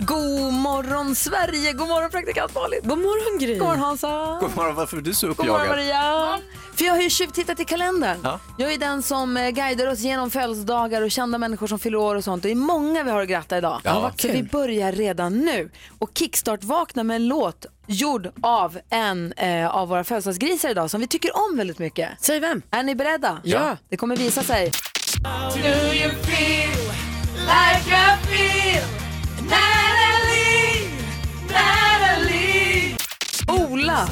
God morgon Sverige, god morgon praktikant Malin. God morgon Gry. God morgon Hansa. God morgon, varför är du så God morgon uppjagad? Maria. För jag har ju tjuvtittat i kalendern. Jag är ju den som eh, guidar oss genom födelsedagar och kända människor som fyller år och sånt. Och det är många vi har att gratta idag. Ja, vad Så vi börjar redan nu. Och kickstart-vakna med en låt gjord av en eh, av våra födelsedagsgrisar idag som vi tycker om väldigt mycket. Säg vem? Är ni beredda? Ja. Det kommer visa sig. Ola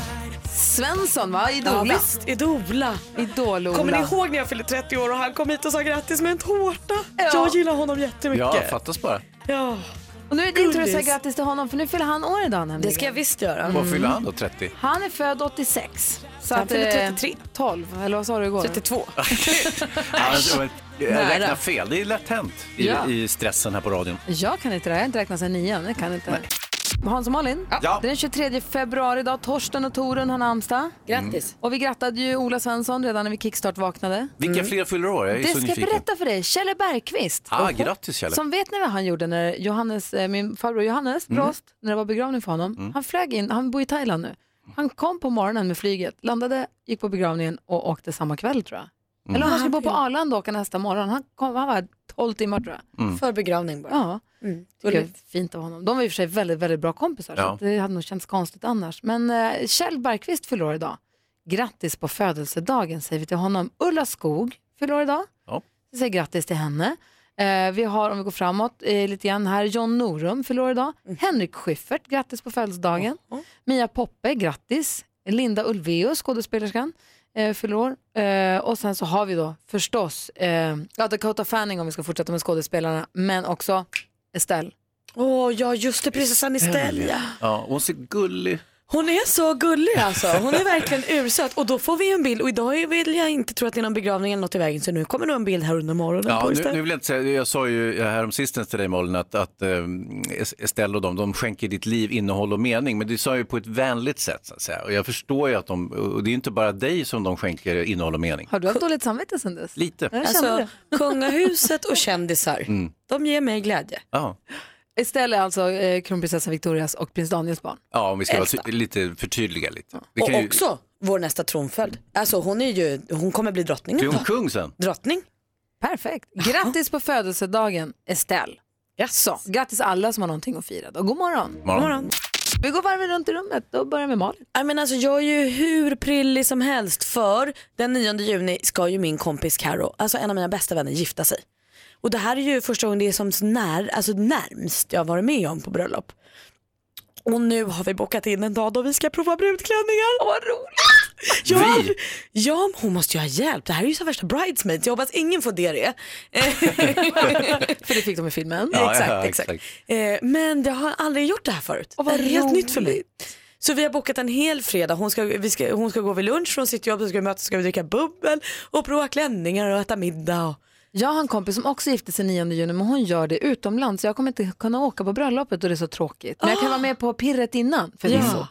Svensson, va? Ja, Idol-Ola. visst, Idola. Idol-Ola. Kommer ni ihåg när jag fyllde 30 år och han kom hit och sa grattis med en tårta? Ja. Jag gillar honom jättemycket. Ja, fattas bara. Ja. Och nu är det din tur att Gullis. säga grattis till honom för nu fyller han år idag nämligen. Det ska jag visst göra. Vad fyller han då, 30? Han är född 86. Så han att, fyller eh, 33. 12, eller vad sa du igår? 32. Han, jag Nära. räknar fel, det är lätt hänt i, Ja. i stressen här på radion. Jag kan inte det, jag har inte räknat sedan nian. Jag kan inte. Hans och Malin, Ja. det är den 23 februari idag. Torsten och Torun har namnsdag. Mm. Grattis. Och vi grattade ju Ola Svensson redan när vi kickstart vaknade. Vilka fler fyller år? Mm. Jag är Det så ska jag nyfiken. berätta för dig. Kjelle Bergqvist. Ah, grattis Kjelle. Som vet ni vad han gjorde när Johannes, eh, min farbror Johannes Brost, när det var begravning för honom. Han flög in, han bor i Thailand nu. Han kom på morgonen med flyget, landade, gick på begravningen och åkte samma kväll tror jag. Eller om han skulle bo på Arlanda och åka nästa morgon. Han, kom, han var här 12 timmar tror jag. För begravning bara. Ja, tycker jag är fint av honom. De var i och för sig väldigt, väldigt bra kompisar så Ja. att det hade nog känts konstigt annars. Men eh, Kjell Bergqvist fyller år idag. Grattis på födelsedagen säger vi till honom. Ulla Skog fyller år idag. Ja. Vi säger grattis till henne. Eh, vi har, om vi går framåt eh, lite grann här, John Norum fyller år idag. Henrik Schyffert, grattis på födelsedagen. Mia Poppe, grattis. Linda Ulvaeus, skådespelerskan, eh, fyller år. Eh, och sen så har vi då förstås eh, ja, Dakota Fanning om vi ska fortsätta med skådespelarna, men också Estelle. Åh, ja just det, prinsessan Estelle. Ja, hon ser gullig. Hon är så gullig alltså. Hon är verkligen ursöt. Och då får vi en bild. Och idag vill jag inte tro att det är någon begravning eller något i vägen. Så nu kommer nog en bild här under morgonen Ja, på nu, nu Estelle. vill jag inte säga, jag sa ju häromsistens till dig Malin att, att ehm, Estelle och dem, de skänker ditt liv innehåll och mening, men du sa ju på ett vänligt sätt så att säga. Och jag förstår ju att de, och det är inte bara dig som de skänker innehåll och mening. Har du haft dåligt samvete sen dess? Lite. Jag kände Alltså, kungahuset och kändisar. Mm. De ger mig glädje. Ja. det. Estelle är alltså eh, kronprinsessan Victorias och prins Daniels barn. Ja, om vi ska vara Äldsta. ty- lite förtydliga lite. Vi Och kan ju- också vår nästa tronföljd. Alltså hon är ju, hon kommer bli drottning. Blir en hon dag. kung sen? Drottning. Perfekt. Grattis på födelsedagen Estelle. Så, grattis alla som har någonting att fira. Då. God morgon. Morgon. Morgon. Vi går varvet runt i rummet och börjar med Malin. Jag, menar, alltså, jag är ju hur prillig som helst för den 9 juni ska ju min kompis Karo, alltså en av mina bästa vänner, gifta sig. Och det här är ju första gången det är som så när, alltså närmst jag har varit med om på bröllop. Och nu har vi bokat in en dag då vi ska prova brudklänningar. Åh, vad roligt! Vi? Jag, ja, men hon måste ju ha hjälp. Det här är ju så värsta bridesmaids. Jag hoppas ingen får det. För det fick de i filmen. Ja, exakt, ja, exakt. exakt. Eh, men jag har aldrig gjort det här förut. Åh, vad det är helt roligt. nytt för mig. Så vi har bokat en hel fredag. Hon ska, vi ska, hon ska gå vid lunch från sitt jobb, så ska vi mötas, så ska vi dricka bubbel och prova klänningar och äta middag. Och... Jag har en kompis som också gifte sig 9 juni men hon gör det utomlands. Jag kommer inte kunna åka på bröllopet och det är så tråkigt. Men jag kan vara med på pirret innan Mm. förvisso.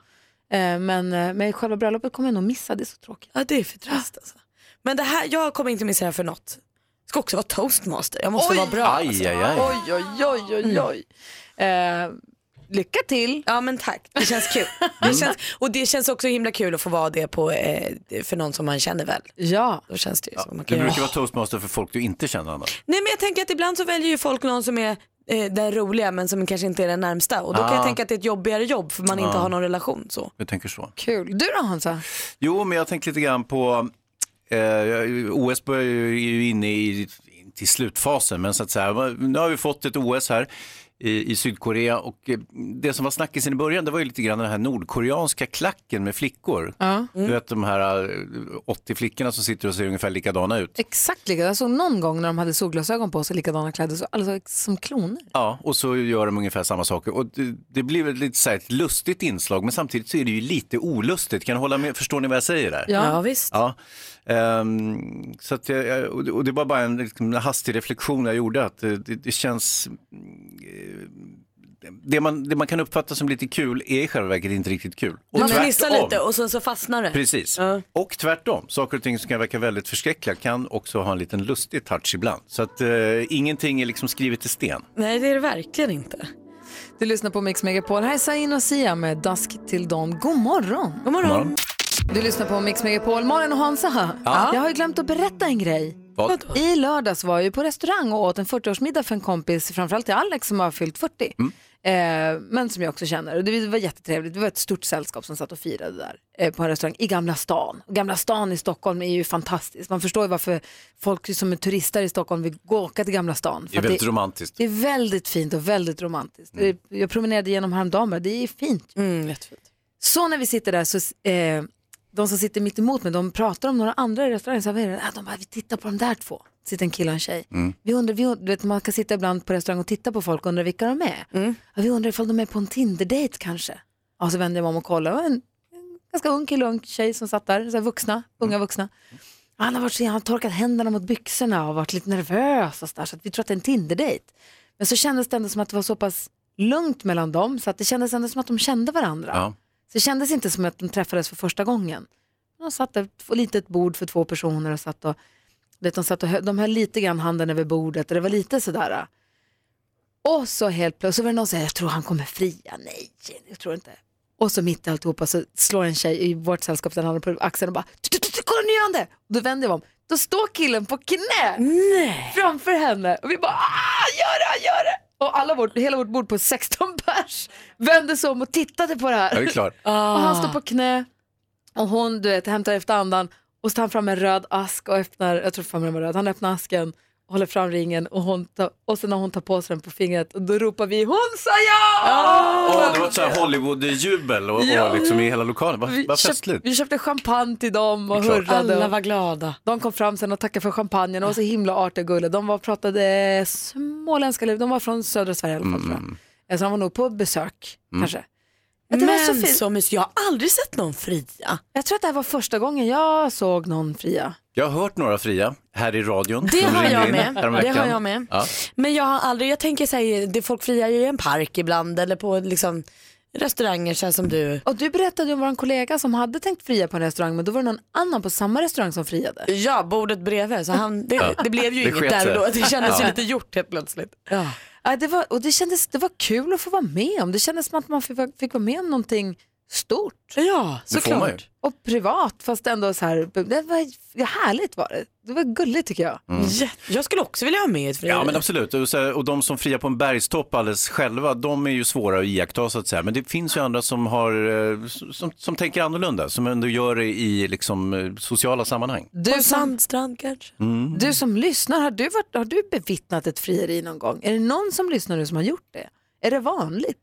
Eh, Men, eh, men själva bröllopet kommer jag nog missa, det är så tråkigt. Ja, det är för trist alltså. Men det här, jag kommer inte missa det här för något. Ska också vara toastmaster. Jag måste vara bra. Aj, aj, aj. Alltså, Oj, oj, oj, oj, oj. Eh, lycka till. Ja men tack, det känns kul. Mm. Det känns, och det känns också himla kul att få vara det på, eh, för någon som man känner väl. Ja, Då känns det ju som man Du kan göra. brukar vara toastmaster för folk du inte känner annars. Nej men jag tänker att ibland så väljer ju folk någon som är eh, den roliga men som kanske inte är den närmsta och då kan Ah. jag tänka att det är ett jobbigare jobb för man inte har någon relation så. Jag tänker så. kul. Du då Hansa? Jo, men jag tänker lite grann på, eh, OS börjar ju- är ju inne i, till slutfasen, men så att säga, nu har vi fått ett OS här. i, i Sydkorea. Och eh, det som var snackisen i början det var ju lite grann den här nordkoreanska klacken med flickor. Ja. Mm. Du vet de här eh, 80 flickorna som sitter och ser ungefär likadana ut. Exakt likadant. Jag såg någon gång när de hade solglasögon på sig, likadana kläder, så, alltså som kloner. Ja, och så gör de ungefär samma saker. Och det, det blir väl lite så här ett lustigt inslag, men samtidigt så är det ju lite olustigt. Kan du hålla med? Förstår ni vad jag säger där? Ja, visst. Ja, ehm, så att jag, jag- och det- och det var bara en liksom, en hastig reflektion jag gjorde att eh, det, det känns... eh, Det man, det man kan uppfatta som lite kul är i själva verket inte riktigt kul. Och Man tvärtom. fnissar lite och sen så fastnar det. Precis. Och tvärtom, saker och ting som kan verka väldigt förskräckliga kan också ha en liten lustig touch ibland. Så att eh, ingenting är liksom skrivet i sten. Nej det är det verkligen inte. Du lyssnar på Mix Megapol. Här är Sain och Sia med Dusk till Dawn. God morgon! God morgon. Morgon. Du lyssnar på Mix Megapol. Malin och Hansa här. Jag har ju glömt att berätta en grej. Vad? I lördags var jag ju på restaurang och åt en 40-årsmiddag för en kompis, framförallt till Alex som har fyllt 40. Mm. Eh, men som jag också känner. Och det var jättetrevligt. Det var ett stort sällskap som satt och firade där eh, på en restaurang i Gamla stan. Och Gamla stan i Stockholm är ju fantastiskt. Man förstår ju varför folk som är turister i Stockholm vill gå och åka till Gamla stan. Det är För att väldigt romantiskt. Mm. det är väldigt fint och väldigt romantiskt. Det- Jag promenerade genom häromdagen, bara, det är fint. Mm, jättefint. Så när vi sitter där så, eh, de som sitter mitt emot mig, de pratar om några andra i restaurangen. Så här, vad är det? Ah, de bara, vi tittar på de där två. Sitter en kille och en tjej. Vi undrar, vi, und- du vet, man kan sitta ibland på restaurang och titta på folk och undra vilka de är. Ja, vi undrar ifall de är på en Tinder-date kanske. Ja, så vänder jag mig om och kollar. Det var En, en ganska ung kille och en tjej som satt där, så här vuxna, unga vuxna. Han har, varit, så- han har torkat händerna mot byxorna och varit lite nervös och så, där, så att vi tror att det är en Tinder-dejt. Men så kändes det ändå som att det var så pass lugnt mellan dem så att det kändes ändå som att de kände varandra. Ja. Så det kändes inte som att de träffades för första gången. De satt där på ett litet bord för två personer och satt och, du vet, de, satt och hö- de höll lite grann handen över bordet och det var lite sådär. Och så helt plötsligt så var det någon som sa, jag tror han kommer fria, nej, jag tror inte. Och så mitt i alltihopa så slår en tjej i vårt sällskap den andra på axeln och bara, "Tu, tu, tu, kolla nu gör han det! Och då vänder jag mig om, då står killen på knä framför henne och vi bara, ah, gör det, gör det! Och alla vårt, hela vårt bord på 16 pers vände sig om och tittade på det här. Ja, det är klart. Ah. Och han står på knä och hon du vet, hämtar efter andan och så tar han fram en röd ask och öppnar, jag tror fan den var röd, han öppnar asken och håller fram ringen och, hon tar, och sen när hon tar på sig den på fingret och då ropar vi hon sa ja! Ah. Åh, det var ett så här Hollywood-jubel och, Ja. och liksom i hela lokalen. Vad Vi, vad köpt, festligt. vi köpte champagne till dem och Det är klart. hurrade. Alla Och var glada. de kom fram sen och tackade för champagnen och var så himla artiga och gulliga. De var, pratade småländska, eller de var från södra Sverige i alla fall tror Mm. jag. Eh, Så de var nog på besök kanske. Jag, det var så Men fint. så mysigt. Jag har aldrig sett någon fria. jag tror att det här var första gången jag såg någon fria. Jag har hört några fria här i radion. Det De har ringde jag in med. Det häromveckan. har jag med. Ja. Men jag har aldrig, jag tänker säga, det folk friar ju i en park ibland eller på liksom restauranger känns som du. Och du berättade ju om vår kollega som hade tänkt fria på en restaurang men då var det någon annan på samma restaurang som friade. Ja, bordet bredvid. Så han, det, det blev ju Det inget sket där och då. sig. Det kändes ju Ja. lite gjort helt plötsligt. Ja. Ja, det, var, och det, kändes, det var kul att få vara med om. Det kändes som att man fick, vara- fick vara med om någonting stort Ja, Det får man ju. såklart. och privat fast ändå så här, det var härligt var det. Det var gulligt tycker jag. Jätte- Jag skulle också vilja ha med ett frieri. Mm. Ja men absolut, och, så här, och de som friar på en bergstopp alldeles själva, de är ju svåra att iaktta så att säga. Men det finns ju andra som, har, eh, som, som tänker annorlunda, som ändå gör det i liksom, eh, sociala sammanhang. Du som, Sandstrand kanske. Mm. du som lyssnar, har du, varit, har du bevittnat ett frieri någon gång? Är det någon som lyssnar nu som har gjort det? Är det vanligt?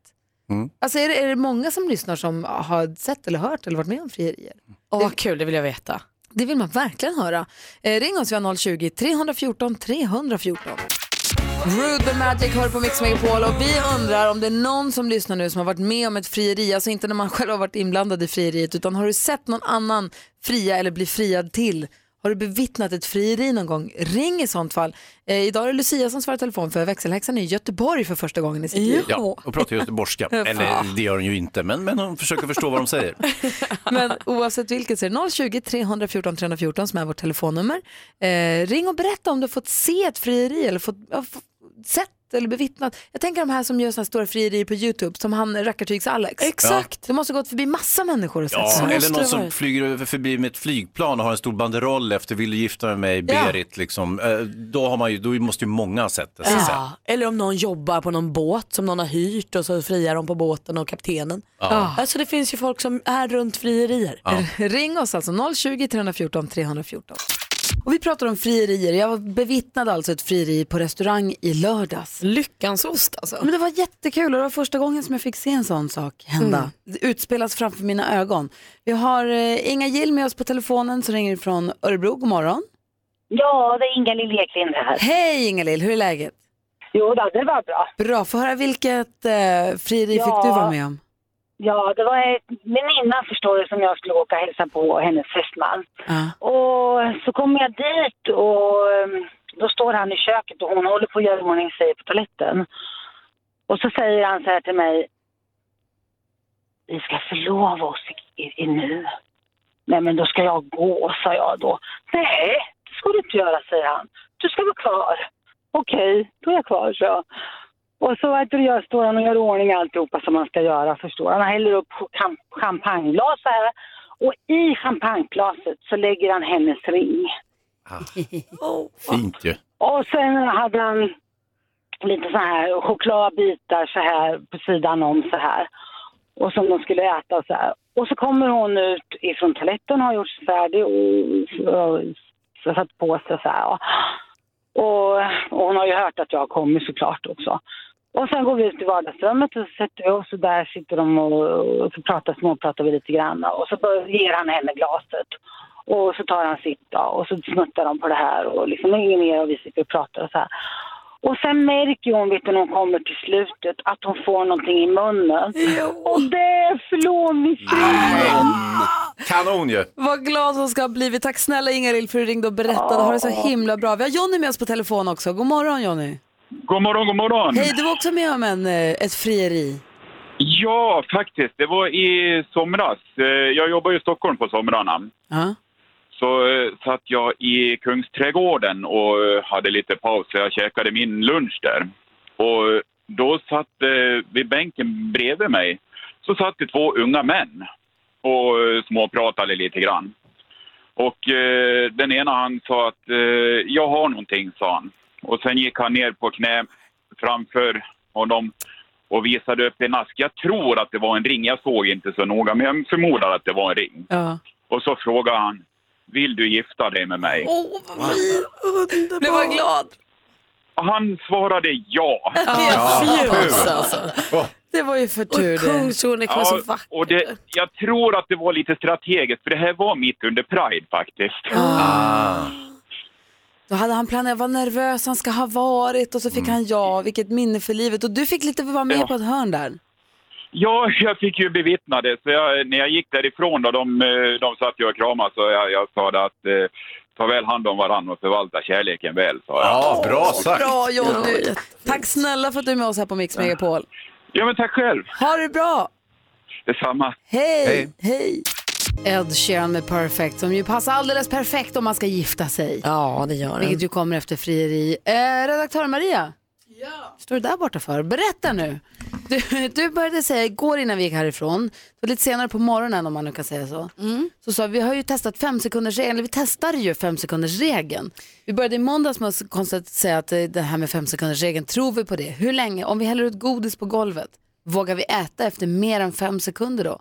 Alltså är det, är det många som lyssnar som har sett eller hört eller varit med om frierier? Åh vad kul, det vill jag veta. Det vill man verkligen höra. Eh, ring oss, vi har 020 314 314. Rude the Magic hör på Mix Megapol och vi undrar om det är någon som lyssnar nu som har varit med om ett frieri, alltså inte när man själv har varit inblandad i frieriet utan har du sett någon annan fria eller bli friad till? Har du bevittnat ett frieri någon gång? Ring i sånt fall. Eh, idag är det Lucia som svarar telefon för växelhäxan är i Göteborg för första gången i sitt liv. Ja, och pratar göteborgska. Eller det gör hon ju inte, men, men hon försöker förstå vad de säger. Men oavsett vilket så är det 020 314 314 som är vårt telefonnummer. Eh, ring och berätta om du har fått se ett frieri eller fått, ja, fått sett eller bevittnat. Jag tänker de här som gör sådana stora frierier på YouTube som han Rackartygs-Alex. Exakt. Det måste ha gått förbi massa människor och sett Ja, sånt. eller måste någon det som vara. flyger över- förbi med ett flygplan och har en stor banderoll efter vill du gifta dig med mig, Ja. Berit. Liksom. Eh, Då, har man ju, då måste ju många ha sett det. Så att säga. Ja. Eller om någon jobbar på någon båt som någon har hyrt och så friar de på båten och kaptenen. Ja. Alltså det finns ju folk som är runt frierier. Ring oss alltså 020 314 314. Och vi pratar om frierier. Jag bevittnade alltså ett frieri på restaurang i lördags. Lyckans ost alltså. Men det var jättekul och det var första gången som jag fick se en sån sak hända. Det utspelas framför mina ögon. Vi har eh, Inga Gill med oss på telefonen som ringer från Örebro. God morgon. Ja, det är Inga Lill-Eklind här. Hej Inga-Lill, hur är läget? Jo, då, det var bra. Bra, få höra vilket eh, frieri Ja. fick du vara med om? Ja, det var en väninna förstår du som jag skulle åka och hälsa på och hennes fästman. Ja. Och så kommer jag dit och ehm, då står han i köket och hon håller på att göra i ordning sig på toaletten. Och så säger han så här till mig. Vi ska förlova oss i, i, i nu. Nej men då ska jag gå, sa jag då. Nej, det ska du inte göra, säger han. Du ska vara kvar. Okej, då är jag kvar, så jag. Och så vet du, jag står han och gör i ordning alltihopa som man ska göra, förstår Han häller upp cham- champagneglas så här. Och i champagneglaset så lägger han hennes ring. Fint ju. Och sen hade han lite så här chokladbitar så här på sidan om så här. Och som de skulle äta och så här. Och så kommer hon ut ifrån toaletten har gjort sig färdig och, och, och satt på sig så här. Och, och hon har ju hört att jag har kommit såklart också. Och sen går vi ut i vardagsrummet och så sätter vi oss och där sitter de och, och så pratar, småpratar vi lite grann. Och så bör, ger han henne glaset. Och så tar han sitt då, och så smuttar de på det här och liksom inget mer och vi sitter och pratar och så här. Och sen märker hon, vet du, när hon kommer till slutet att hon får någonting i munnen. Och det är förlovningsringen! Mm. Kanon ju. Vad glad hon ska ha blivit. Tack snälla Ingalill för att du ringde och berättade. Har det så himla bra. Vi har Jonny med oss på telefon också. God morgon Jonny. God morgon, god morgon. Hej, du var också med om en, eh, ett frieri. Ja, faktiskt. Det var i somras. Eh, Jag jobbar ju i Stockholm på somrarna. Ja. Så eh, satt jag i Kungsträdgården och eh, hade lite paus, så jag käkade min lunch där. Och eh, då satt eh, vid bänken bredvid mig, så satt det två unga män och eh, småpratade lite grann. Och eh, den ena han sa att eh, jag har någonting, sa han. Och sen gick han ner på knä framför honom och visade upp en ask. Jag tror att det var en ring, jag såg inte så noga, men jag förmodar att det var en ring. Ja. Och så frågade han, vill du gifta dig med mig? Blev var glad. Och han svarade ja. Fjus alltså. Det var ju för Och tur det. Kungskronik var så ja vacker. och det, jag tror att det var lite strategiskt, för det här var mitt under Pride faktiskt. Ah. Då hade han planerat vad nervös han ska ha varit och så fick han ja, vilket minne för livet. Och du fick lite vara med Ja. på ett hörn där. Ja, jag fick ju bevittna det. Så jag, när jag gick därifrån, då, de, eh, de satt ju och kramade, så jag, jag sa det att eh, ta väl hand om varandra och förvalta kärleken väl, sa jag. Ja, bra sagt. Bra Ja, Jonny. jättefint. Tack snälla för att du är med oss här på Mix Megapol. Ja, men tack själv. Ha det bra. Detsamma. Hej! Hej! Hej. Ed Sheeran med Perfect som ju passar alldeles perfekt om man ska gifta sig. Ja, det gör den. Vilket ju kommer efter frieri. Eh, redaktör Maria, står du där borta för? Berätta nu. Du, du började säga igår innan vi gick härifrån, det var lite senare på morgonen om man nu kan säga så, så sa vi, vi har ju testat fem sekunders regeln, eller vi testade ju fem sekunders regeln. Vi började i måndags med att konstigt säga att eh, det här med fem sekunders regeln, tror vi på det? Hur länge? Om vi häller ut godis på golvet, vågar vi äta efter mer än fem sekunder då?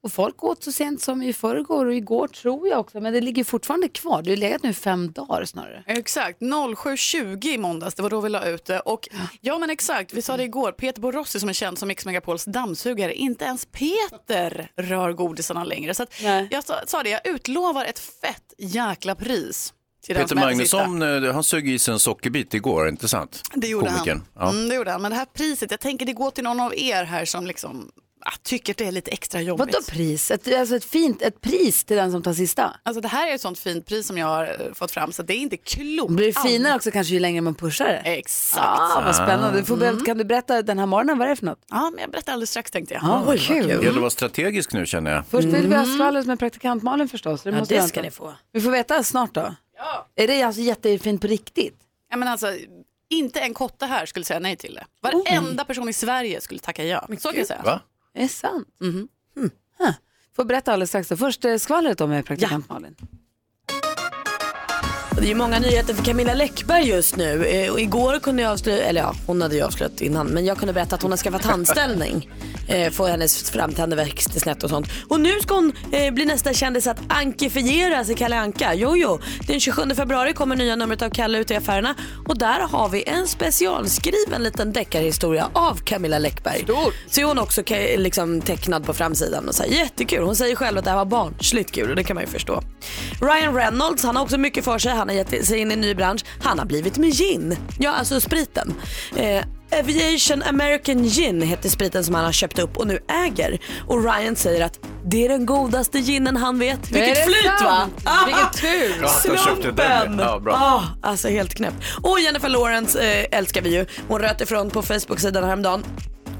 Och folk åt så sent som i förrgår och igår tror jag också, men det ligger fortfarande kvar. Det har ju legat nu i fem dagar snarare. Exakt, 07.20 i måndags, det var då vi la ut det. Och, ja men exakt, vi sa det igår, Peter Borossi som är känd som Mix Megapols dammsugare, inte ens Peter rör godisarna längre. Så att, Nej. jag sa, sa det, jag utlovar ett fett jäkla pris. Till den Peter som äter sista. Magnusson, eh, han sög i sig en sockerbit igår, inte sant? Det gjorde Komikern. han. Ja. Mm, det gjorde han. Men det här priset, jag tänker det går till någon av er här som liksom, ah, tycker att det är lite extra jobbigt. Vadå pris? Ett, alltså ett fint ett pris till den som tar sista? Alltså det här är ett sånt fint pris som jag har eh, fått fram så det är inte klokt. Det blir alls. finare också kanske ju längre man pushar det. Exakt. Ah, vad spännande. Du får, ber- Kan du berätta den här morgonen, vad är det för något? Ja, men jag berättar alldeles strax tänkte jag. Mm. Ah, vad kul. Det gäller att vara strategisk nu känner jag. Först vill vi ha skvallret med praktikant Malin förstås. Det Ja, måste det jag ska anta. ni få. Vi får veta snart då. Är det alltså jättefint på riktigt? Ja, men alltså, inte en kotte här skulle säga nej till det. Varenda Oh. person i Sverige skulle tacka ja. Så kan jag säga. Va? Är det sant? Mm. Huh. Får berätta alldeles strax. Då. Först eh, skvallret då med praktikant Malin. Och Det är ju många nyheter för Camilla Läckberg just nu. Eh, Och igår kunde jag avslöja, eller ja, hon hade ju avslöjat innan, men jag kunde berätta att hon har skaffat tandställning. Eh, få hennes framtänder växte snett och sånt. Och nu ska hon eh, bli nästa kändis att ankifieras i Kalle Anka. Jo, jo. Den 27 februari kommer nya numret av Kalle ut i affärerna och där har vi en specialskriven liten deckarhistoria av Camilla Läckberg. Stort. Så är hon också ka- liksom, tecknad på framsidan och så här, jättekul. Hon säger själv att det här var barnsligt kul och det kan man ju förstå. Ryan Reynolds, han har också mycket för sig. Han har gett sig in i en ny bransch. Han har blivit med gin. Ja, alltså spriten. Eh, Aviation American Gin heter spriten som han har köpt upp och nu äger. Och Ryan säger att det är den godaste ginen han vet. Är det Vilket flyt va? sant? Vilket tur. Bra att han köpte den, Slumpen! ja. Ja, bra. Ah, alltså helt knäppt. Och Jennifer Lawrence eh, älskar vi ju. Hon röt ifrån på Facebook-sidan häromdagen.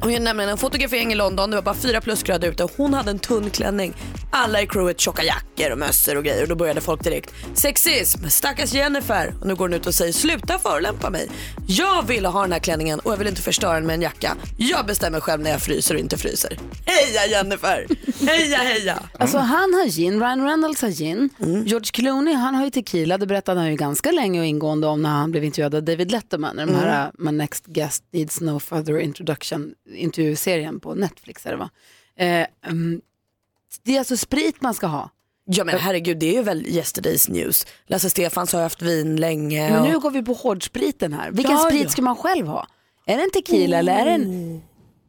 Hon gjorde nämligen en fotografering i London, det var bara fyra plusgrader ute och hon hade en tunn klänning. Alla i crewet tjocka jackor och mössor och grejer och då började folk direkt. Sexism, stackars Jennifer. Och nu går hon ut och säger sluta förolämpa mig. Jag vill ha den här klänningen och jag vill inte förstöra den med en jacka. Jag bestämmer själv när jag fryser och inte fryser. Heja Jennifer! Heja heja! Alltså han har gin, Ryan Reynolds har gin, Mm. George Clooney han har ju tequila, det berättade han ju ganska länge och ingående om när han blev intervjuad av David Letterman i de här äh, Mm. My Next Guest Needs No Further Introduction intervjuserien på Netflix. Är det, va? Eh, mm, det är alltså sprit man ska ha. Ja men herregud det är ju väl yesterday's news. Lasse Stefans har haft vin länge. Men och- nu går vi på hårdspriten här. Vilken Ja, Oh. sprit ja. ska man själv ha? Är det en tequila eller är det en...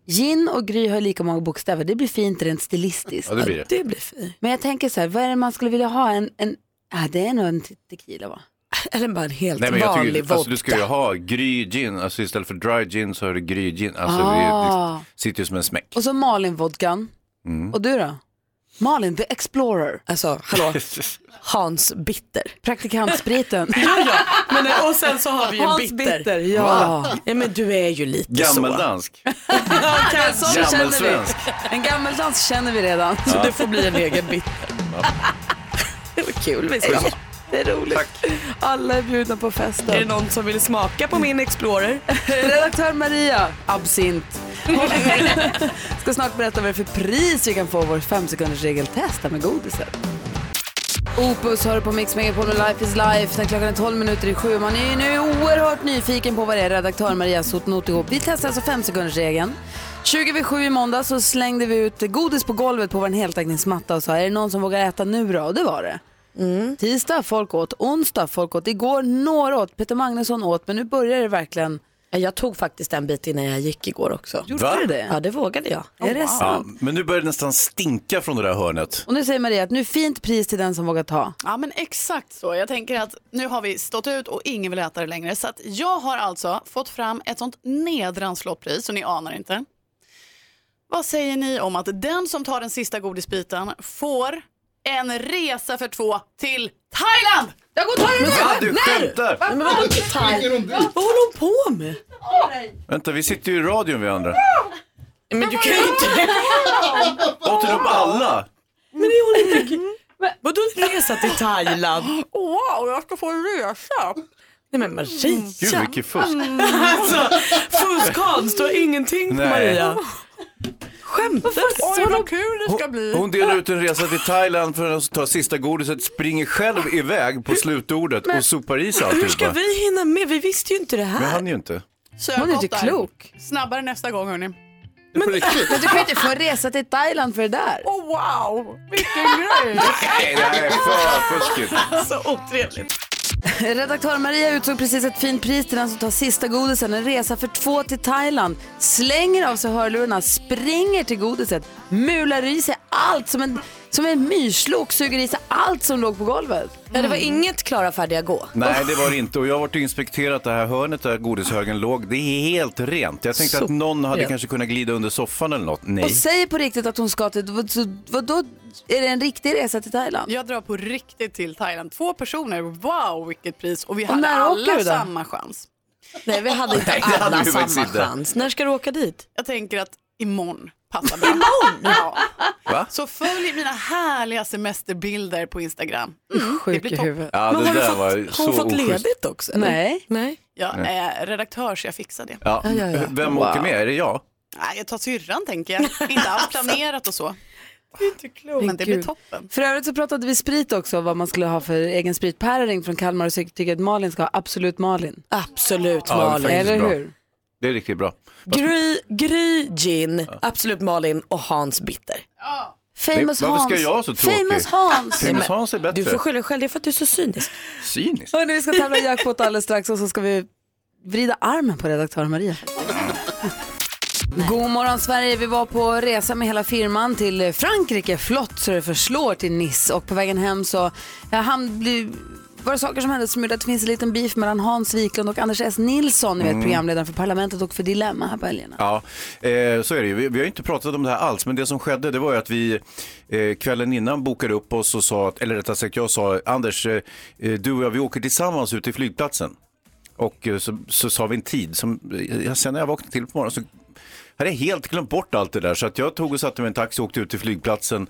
Gin och Gry har lika många bokstäver, det blir fint rent stilistiskt. Ja, det blir det. Det blir fint. Men jag tänker så här, vad är det man skulle vilja ha? En, en... Ah, det är nog en te- tequila va? Eller bara en helt Nej, men jag vanlig tycker, vodka. alltså, du ska ju ha gry gin, alltså istället för dry gin så har du gry gin. Alltså, det, Ah. det sitter ju som en smäck. Och så Malin-vodkan. Och du då? Malin, the explorer. Alltså hallå, Hans Bitter. Praktikantspriten. Men, och sen så har vi ju bitter. ja. ja. Men du är ju lite så. Gammeldansk, gammelsvensk. en gammeldans känner vi redan. Så det får bli en egen bitter. Det var kul vi ska. Det är roligt. Alla är bjudna på Är det festen. någon som vill smaka på min Explorer? Redaktör Maria, absint. Ska snart berätta vad det är för pris vi kan få vår femsekunders regeltest här med godiset. Opus hör på Mix Megapol och Life is Life. Den klockan är 12 minuter i sju. Man är ju nu oerhört nyfiken på vad det är redaktör Maria Sotn åt ihop. Vi testar alltså femsekundersregeln. 20 vid sju i måndag så slängde vi ut godis på golvet på vår heltäckningsmatta och sa är det någon som vågar äta nu då? Och det var det. Mm. Tisdag folk åt, onsdag folk åt, igår några åt, Peter Magnusson åt men nu börjar det verkligen. Jag tog faktiskt en bit innan jag gick igår också. Gjorde Va? du det? Ja det vågade jag. Oh, Är det Ja, sant? men nu börjar det nästan stinka från det där hörnet. Och nu säger Maria att nu fint pris till den som vågar ta. Ja men exakt så. Jag tänker att nu har vi stått ut och ingen vill äta det längre. Så att jag har alltså fått fram ett sånt nedrans lottpris så ni anar inte. Vad säger ni om att den som tar den sista godisbiten får en resa för två till Thailand? Jag går och tar den Ah, du skämtar! Men vadå Thailand? Vad håller hon på med? Vänta, vi sitter ju i radion vi andra. Men du kan ju inte... Åt upp alla? Men är hon inte... Vadå resa till Thailand? Wow, jag ska få en resa! Nej men Maria. Gud, vilket fusk. Alltså, fuskhans, du har ingenting på Nej. Maria. Skämtar du? vad kul det ska bli! Hon delar ut en resa till Thailand för att ta sista godiset, springer själv iväg på slutordet och sopar i sig Hur ska alltihopa. vi hinna med? Vi visste ju inte det Men här. han ju inte. Sök Hon är något inte där. klok. Snabbare nästa gång hörni. Det är på riktigt. Men du kan ju inte få resa till Thailand för det där. Oh, wow, vilken grej! Nej, det här är för fuskigt. Så otrevligt. Redaktör Maria utsåg precis ett fint pris till den som tar sista godisen. En resa för två till Thailand. Slänger av sig hörlurarna, springer till godiset, mular i sig allt som en, som en myrslok, suger i sig allt som låg på golvet. Ja, det var inget Klara färdiga gå. Nej, det var det inte. Och jag har varit och inspekterat det här hörnet där godishögen låg. Det är helt rent. Jag tänkte att någon hade kanske kunnat glida under soffan eller något. Och Nej. säger på riktigt att hon ska till... vad- så- Vadå, är det en riktig resa till Thailand? Jag drar på riktigt till Thailand. Två personer, wow vilket pris! Och vi Och hade när åker alla du då? samma chans. Nej, vi hade inte Nej, det hade alla vi faktiskt samma inte. chans. När ska du åka dit? Jag tänker att imorgon passar bra. imorgon? Ja. Va? Så följ mina härliga semesterbilder på Instagram. Mm. Sjuk blir i topp. huvudet. Ja, Men det har du där var ju fått, så har hon fått oschysst. ledigt också? eller? Nej. Nej. Jag är redaktör så jag fixar det. Ja. ja, ja. Vem åker med? Är det jag? Alltså. Nej, jag tar syrran tänker jag. Inte alls planerat och så. Det är inte klokt. Men det blir Gud. toppen. För övrigt så pratade vi sprit också, vad man skulle ha för egen sprit. Per har ringt från Kalmar och tycker att Malin ska ha Absolut Malin. Absolut Ja, det är faktiskt Eller bra. hur? Det är riktigt bra. Gry, Gry Gin, Absolut Malin och Hans Bitter. Famous Det- varför ska Hans. jag vara så tråkig? Famous Hans. Famous Hans är bättre. Du får skylla dig själv, det är för att du är så cynisk. Cyniskt. Hörrni, vi ska tävla i jackpot alldeles strax och så ska vi vrida armen på redaktör Maria. God morgon Sverige, vi var på resa med hela firman till Frankrike, flott så det förslår till Nice och på vägen hem så ja, han blev var det saker som hände som gjorde att det finns en liten beef mellan Hans Wiklund och Anders S. Nilsson, ni vet programledaren för Parlamentet och för Dilemma här på helgerna. Ja, eh, så är det ju. Vi, vi har ju inte pratat om det här alls, men det som skedde det var ju att vi eh, kvällen innan bokade upp oss och sa, att, eller rättare sagt jag sa, Anders, eh, du och jag vi åker tillsammans ut till flygplatsen. Och eh, så, så sa vi en tid som, eh, sen när jag vaknade till på morgonen så hade jag helt glömt bort allt det där. Så att jag tog och satte mig i en taxi och åkte ut till flygplatsen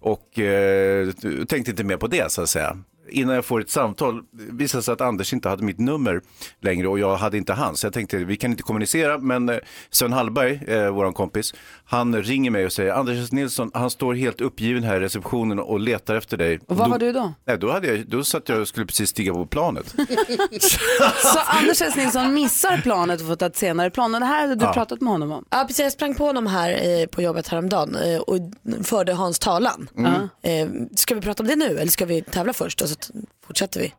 och eh, tänkte inte mer på det så att säga. Innan jag får ett samtal visade det sig att Anders inte hade mitt nummer längre och jag hade inte hans. Jag tänkte vi kan inte kommunicera men eh, Sven Hallberg, eh, vår kompis, han ringer mig och säger Anders S. Nilsson, han står helt uppgiven här i receptionen och letar efter dig. Och vad var du då? Nej, då, hade jag, då satt jag och skulle precis stiga på planet. Så Anders S. Nilsson missar planet och får ta ett senare plan och det här hade du pratat med honom om. Ja, precis, jag sprang på honom här eh, på jobbet häromdagen eh, och förde Hans talan. Mm. Eh, ska vi prata om det nu eller ska vi tävla först och så t- fortsätter vi?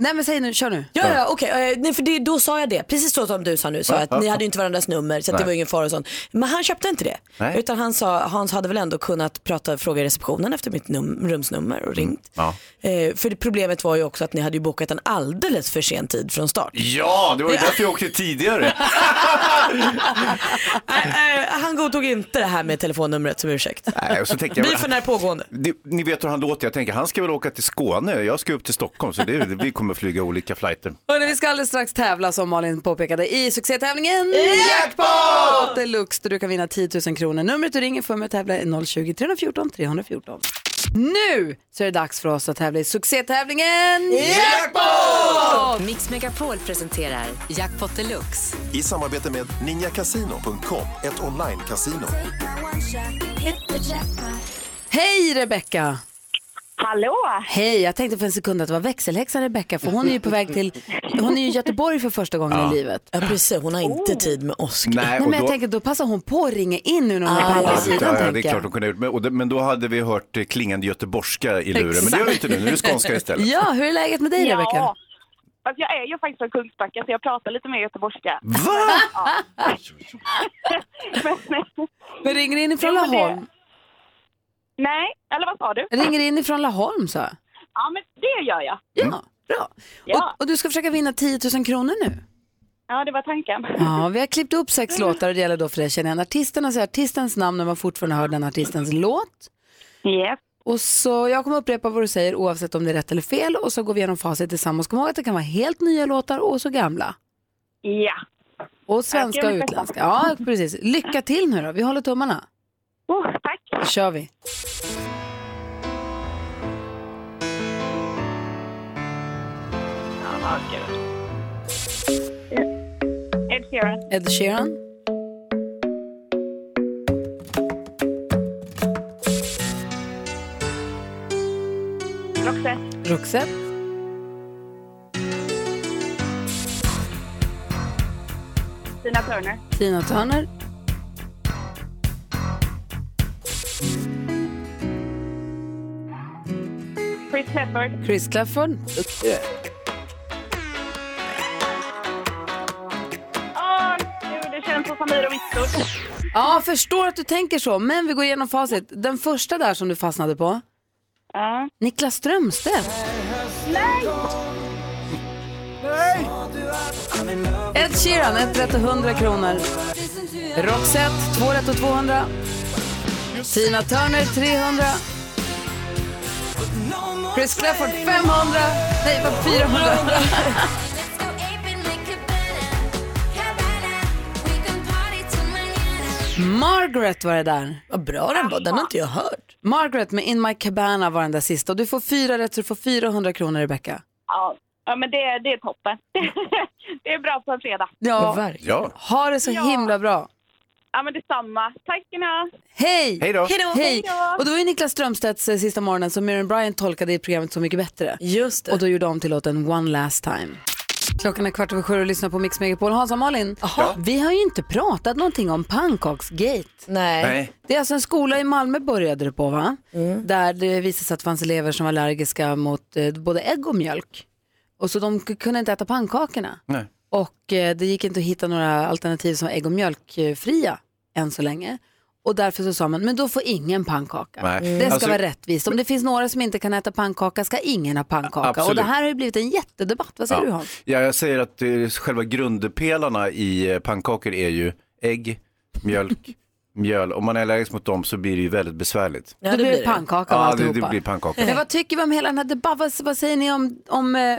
Nej men säg nu, kör nu. Ja, ja okej. Eh, nej, för det, då sa jag det. Precis så som du sa nu. Sa jag att ni hade ju inte varandras nummer så att det Nej. var ju ingen fara och sånt. Men han köpte inte det. Nej. Utan han sa, Hans hade väl ändå kunnat prata, fråga i receptionen efter mitt num- rumsnummer och ringt. Mm, Ja. Eh, för det problemet var ju också att ni hade ju bokat en alldeles för sen tid från start. Ja, det var ju därför jag åkte tidigare. Eh, eh, han godtog inte det här med telefonnumret som ursäkt. Nej, och så tänkte jag, Beefen är pågående. Det, ni vet hur han låter, jag tänker han ska väl åka till Skåne, jag ska upp till Stockholm så det, vi kommer flyga olika flighter. Hörrni, vi ska alldeles strax tävla som Malin påpekade i succétävlingen Jackpot Deluxe där du kan vinna 10 000 kronor. Numret du ringer för mig att tävla är 020-314 314. Nu så är det dags för oss att tävla i succétävlingen Mix Megapol presenterar Jackpot Deluxe. I samarbete med ninjakasino.com, ett online-casino. Hej Rebecka! Hallå! Hej, jag tänkte för en sekund att det var växelhäxan Rebecka för hon är ju på väg till, hon är ju i Göteborg för första gången Ja. i livet. Ja precis, hon har inte Oh. tid med oss. Nej, men jag tänker då passar hon på att ringa in nu när hon är på andra Ah. ja, sidan. det är tänker jag. klart de kunde ha gjort, men, och det, men då hade vi hört eh, klingande göteborgska i luren, men det gör vi inte nu, nu är det skånska istället. Ja, hur är läget med dig ja. Rebecka? Fast jag är ju faktiskt från Kungsbacka så jag pratar lite mer göteborgska. Va? Men ringer in ifrån Jo, men det- Laholm? Nej, eller vad sa du? Ringer in ifrån Laholm sa jag. Ja, men det gör jag. Mm. Ja, bra. Ja. Och, och du ska försöka vinna 10 000 kronor nu. Ja, det var tanken. Ja, vi har klippt upp sex låtar och det gäller då för dig att känna igen artisten och säga artistens namn när man fortfarande hör den artistens låt. Yes. Och så jag kommer upprepa vad du säger oavsett om det är rätt eller fel och så går vi igenom facit tillsammans. Kom ihåg att det kan vara helt nya låtar och så gamla. Ja. Och svenska och mitt bästa. utländska. Ja, precis. Lycka till nu då. Vi håller tummarna. Oh, tack. Då kör vi. Ja, vad kul. Ed Sheeran. Ed Sheeran. Roxette. Roxette. Tina Turner. Tina Turner. Chris Hefford. Chris Clafford. Åh, gud, det känns som Samir och Viktor. Ja, förstår att du tänker så, men vi går igenom facit. Den första där som du fastnade på. Ja. Niklas Strömstedt. Nej! Ed Sheeran, ett rätt och 100 kronor. Roxette, två rätt och 200. Tina Turner, 300. Chris Clafford, 500. Nej, vad 400. Margaret var det där. Vad bra den var, den har inte jag hört. Margaret med In My Cabana var den där sista. Och du får fyra rätt så du får 400 kronor, Rebecca. Ja, ja men det, det är toppen. det är bra på en fredag. Ja, Ja. ha det så himla bra. Ja, men detsamma. Tack ska ni ha. Hej! Hej då. Hej då. Hej! Hej då. Och det var ju Niklas Strömstedts eh, sista morgonen som Miriam Bryant tolkade i programmet Så mycket bättre. Just Och då gjorde de till låten One last time. Klockan är kvart över sju och lyssnar på Mix Megapol. Hans och Malin, vi har ju inte pratat någonting om pannkaksgate. Nej. Nej. Det är alltså en skola i Malmö började det på va? Där det visade sig att det fanns elever som var allergiska mot eh, både ägg och mjölk. Och så de k- kunde inte äta pannkakorna. Nej. Och eh, det gick inte att hitta några alternativ som var ägg och mjölkfria än så länge. Och därför så sa man, men då får ingen pannkaka. Nej. Mm. Det ska Alltså- vara rättvist. Om det finns några som inte kan äta pannkaka ska ingen ha pannkaka. Absolut. Och det här har ju blivit en jättedebatt. Vad säger du Hans? Ja, jag säger att eh, själva grundpelarna i eh, pannkakor är ju ägg, mjölk, mjöl. Om man är allergisk mot dem så blir det ju väldigt besvärligt. Ja, det Då blir det blir det. pannkaka av ja, det, alltihopa. det blir pannkaka. Men vad tycker vi om hela den här debatten? Vad, vad säger ni om, om eh,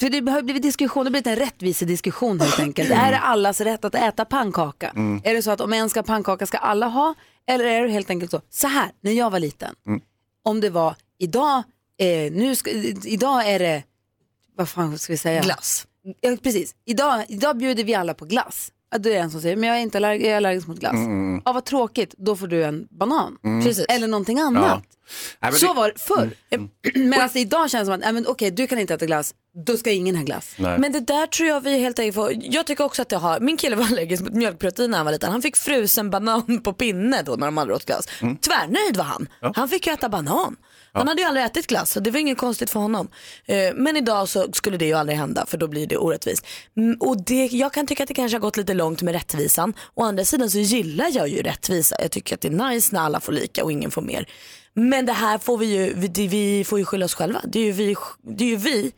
för det har ju blivit diskussion, det har blivit en rättvisediskussion helt enkelt. Är det allas rätt att äta pannkaka? Mm. Är det så att om en ska ha pannkaka ska alla ha? Eller är det helt enkelt så, så här, när jag var liten, Mm. om det var idag, eh, nu ska, idag är det, vad fan ska vi säga? Glass. Ja, precis, idag, idag bjuder vi alla på glass. Ja, Då är det en som säger, men jag är inte allerg- jag är allergisk mot glass. Mm. Ja, vad tråkigt, då får du en banan. Mm. Precis. Eller någonting annat. Ja. Nej, men Så det- Mm, var det förr. Medan det idag känns som att, nej, men okej du kan inte äta glass, då ska ingen ha glass. Nej. Men det där tror jag vi helt enkelt får, jag tycker också att det har, min kille var allergisk mot mjölkprotein när han var liten. Han fick frusen banan på pinne då när de aldrig åt glass. Mm. Tvärnöjd var han. Han fick ju äta banan. Han hade ju aldrig ätit glass så det var inget konstigt för honom. Eh, Men idag så skulle det ju aldrig hända för då blir det orättvist. Mm, Och det, jag kan tycka att det kanske har gått lite långt med rättvisan. Å andra sidan så gillar jag ju rättvisa. Jag tycker att det är nice när alla får lika och ingen får mer. Men det här får vi ju, vi, det- vi får ju skylla oss själva. Det är ju vi, det är ju vi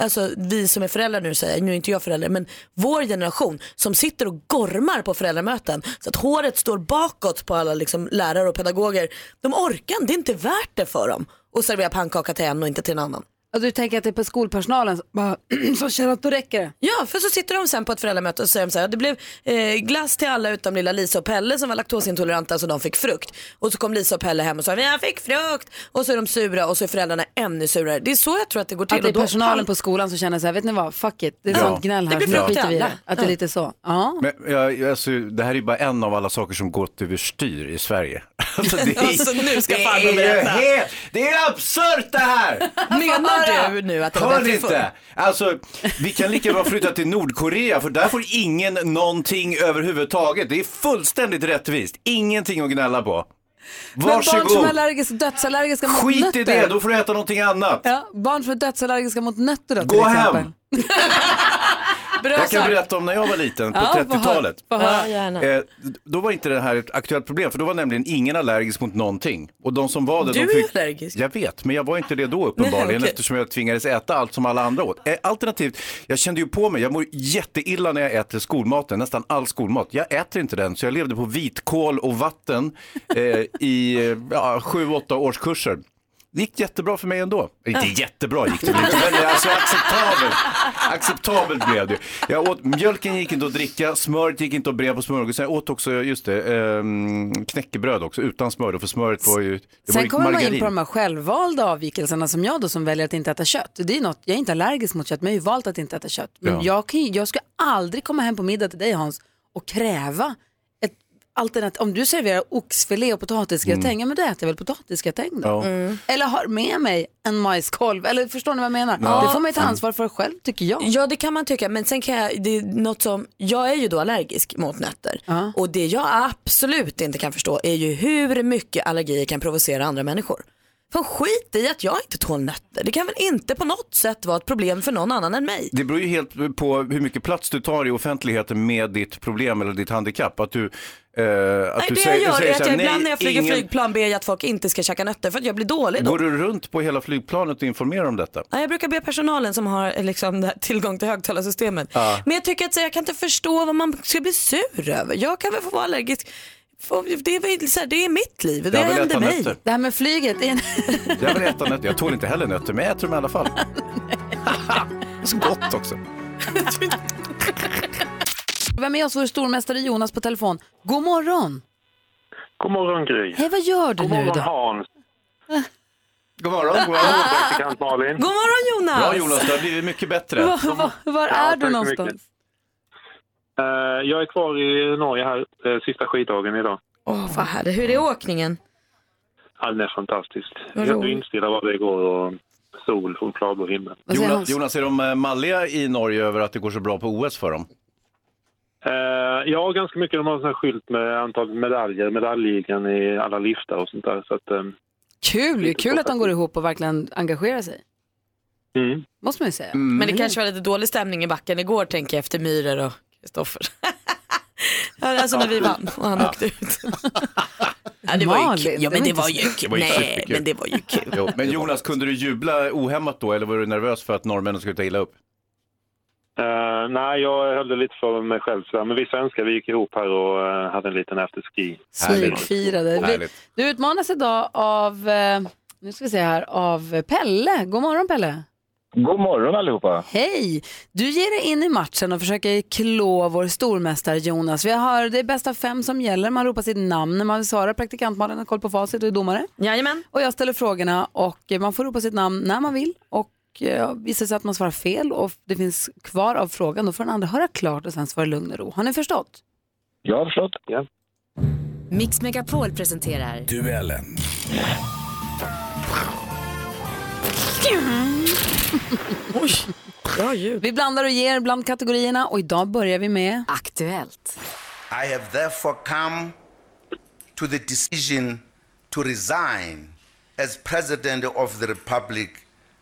Alltså vi som är föräldrar nu säger jag, nu är inte jag förälder, men vår generation som sitter och gormar på föräldramöten så att håret står bakåt på alla liksom, lärare och pedagoger. De orkar inte, det är inte värt det för dem att servera pannkaka till en och inte till en annan. Och Alltså, du tänker att det är på skolpersonalen som bara, som känner att då räcker det. Ja, för så sitter de sen på ett föräldramöte och säger de så här, det blev eh, glass till alla utom lilla Lisa och Pelle som var laktosintoleranta så de fick frukt. Och så kom Lisa och Pelle hem och sa, jag fick frukt. Och så är de sura och så är föräldrarna ännu surare. Det är så jag tror att typ det går till. Att det är Och då- personalen på skolan som känner så här, vet ni vad, fuck it, det är Ja. sånt gnäll Det här blir så nu frukt skiter till vi i alla. det. Att det är Ja. lite så. Ja. Men, ja, jag- alltså, det här är ju bara en av alla saker som gått överstyr i Sverige. Alltså, det är, Alltså, nu ska det farbror är ju berätta. helt- Det är absurt det här! Menar du nu att det var Hör bättre ni förr? inte? Alltså, vi kan lika bra flytta till Nordkorea för där får ingen någonting överhuvudtaget. Det är fullständigt rättvist. Ingenting att gnälla på. Men barn som är Varsågod. allergiska, dödsallergiska mot Skit nötter. i det, då får du äta någonting annat. ja, barn som är dödsallergiska mot nötter då, till Gå exempel. hem. jag kan berätta om när jag var liten på Ja, få höra. 30-talet. Få höra. Ja, gärna. Eh, då var inte det här ett aktuellt problem för då var nämligen ingen allergisk mot någonting. Och de som var det, Du de är fick... allergisk. Jag vet, men jag var inte det då uppenbarligen Nej, okej. eftersom jag tvingades äta allt som alla andra åt. Eh, Alternativt, jag kände ju på mig, jag mår jätteilla när jag äter skolmaten, nästan all skolmat. Jag äter inte den, så jag levde på vitkål och vatten eh, i eh, ja, sju, åtta årskurser. Det gick jättebra för mig ändå. Inte Ja. jättebra gick det väl inte, men alltså acceptabelt. Acceptabelt blev det. Jag åt, mjölken gick inte att dricka, smöret gick inte att bre på smörgåsen. Jag åt också, just det, ehm, knäckebröd också utan smör då, för smöret var ju, det var Sen ju kommer man in margarin. på de här självvalda avvikelserna som jag då som väljer att inte äta kött. Det är ju något, jag är inte allergisk mot kött men jag har ju valt att inte äta kött. Men Ja. jag, kan, ju- jag ska aldrig komma hem på middag till dig Hans och kräva ett alternativ. Om du serverar oxfilé och potatisgratäng, Mm. ja men då äter jag väl potatisgratäng då. Ja. Mm. Eller har med mig en majskolv, eller förstår ni vad jag menar? Ja. Det får man ju ta ansvar för själv tycker jag. Ja det kan man tycka men sen kan jag, det är något som, jag är ju då allergisk mot nötter och det jag absolut inte kan förstå är ju hur mycket allergier kan provocera andra människor. Fan skit i att jag inte tål nötter, det kan väl inte på något sätt vara ett problem för någon annan än mig. Det beror ju helt på hur mycket plats du tar i offentligheten med ditt problem eller ditt handikapp. Att du, eh, att Nej, du det säger, jag gör säger är så att här, jag "Nej, ibland när jag flyger ingen- flygplan ber jag att folk inte ska käka nötter för att jag blir dålig då. Går du runt på hela flygplanet och informerar om detta? Ja, jag brukar be personalen som har eh, liksom, det här tillgång till högtalarsystemet. Ja. Men jag tycker att så, här, jag kan inte förstå vad man ska bli sur över. Jag kan väl få vara allergisk. Få- Det är, väl så här, det är mitt liv, det Jag vill händer äta mig. nötter. Det här med flyget, är en... Jag vill äta nötter. Jag tål inte heller nötter, men jag äter dem i alla fall. Så gott också. vi har med oss vår stormästare Jonas på telefon. God morgon! God morgon Gry. Hej vad gör du God nu morgon då? Hans. God morgon. God morgon praktikant Malin. God morgon, Jonas! Bra Jonas, det har blivit mycket bättre. Var, var, var Ja, är tack du så någonstans? mycket. Eh, Jag är kvar i Norge här eh, sista skiddagen idag. Åh, vad härligt. Hur är åkningen? Ja, det är fantastiskt. Vad Jag roligt. vindstilla vad det går och sol och klarblå himmel. Jonas, Jonas, är de eh, malliga i Norge över att det går så bra på OS för dem? Eh, ja, ganska mycket. De har en sån här skylt med antal medaljer, medaljligan i alla liftar och sånt där. Så att, eh, Kul ju, kul att de går ihop och verkligen engagerar sig. mm. Måste man ju säga. Men det kanske var lite dålig stämning i backen igår tänker jag efter Myhrer och Kristoffer. alltså när vi vann och han åkte ut. ja, det var ju kul. Ja, men det var ju kul. Nej, men det var ju kul. Jo, men Jonas, kunde du jubla ohämmat då eller var du nervös för att norrmännen skulle ta illa upp? Eh, nej, jag höll det lite för mig själv. sådär. Men vi svenskar vi gick ihop här och eh, hade en liten afterski. Smygfirade. Vi, du utmanas idag av, eh, nu ska vi se här, av Pelle. God morgon Pelle. God morgon allihopa. Hej! Du ger dig in i matchen och försöker klå vår stormästare Jonas. Vi har, det är bäst av fem som gäller. Man ropar sitt namn när man svarar. Praktikantmalen har koll på facit och är domare. Jajamän. Och jag ställer frågorna och eh, man får ropa sitt namn när man vill. Och eh, visar det sig att man svarar fel och det finns kvar av frågan, då får den andra höra klart och sen svara i lugn och ro. Har ni förstått? Jag har förstått. Ja. Mix Megapol presenterar Duellen. Oj, bra ljud. Vi blandar och ger bland kategorierna och idag börjar vi med Aktuellt. I have therefore come to the decision to resign as President of the Republic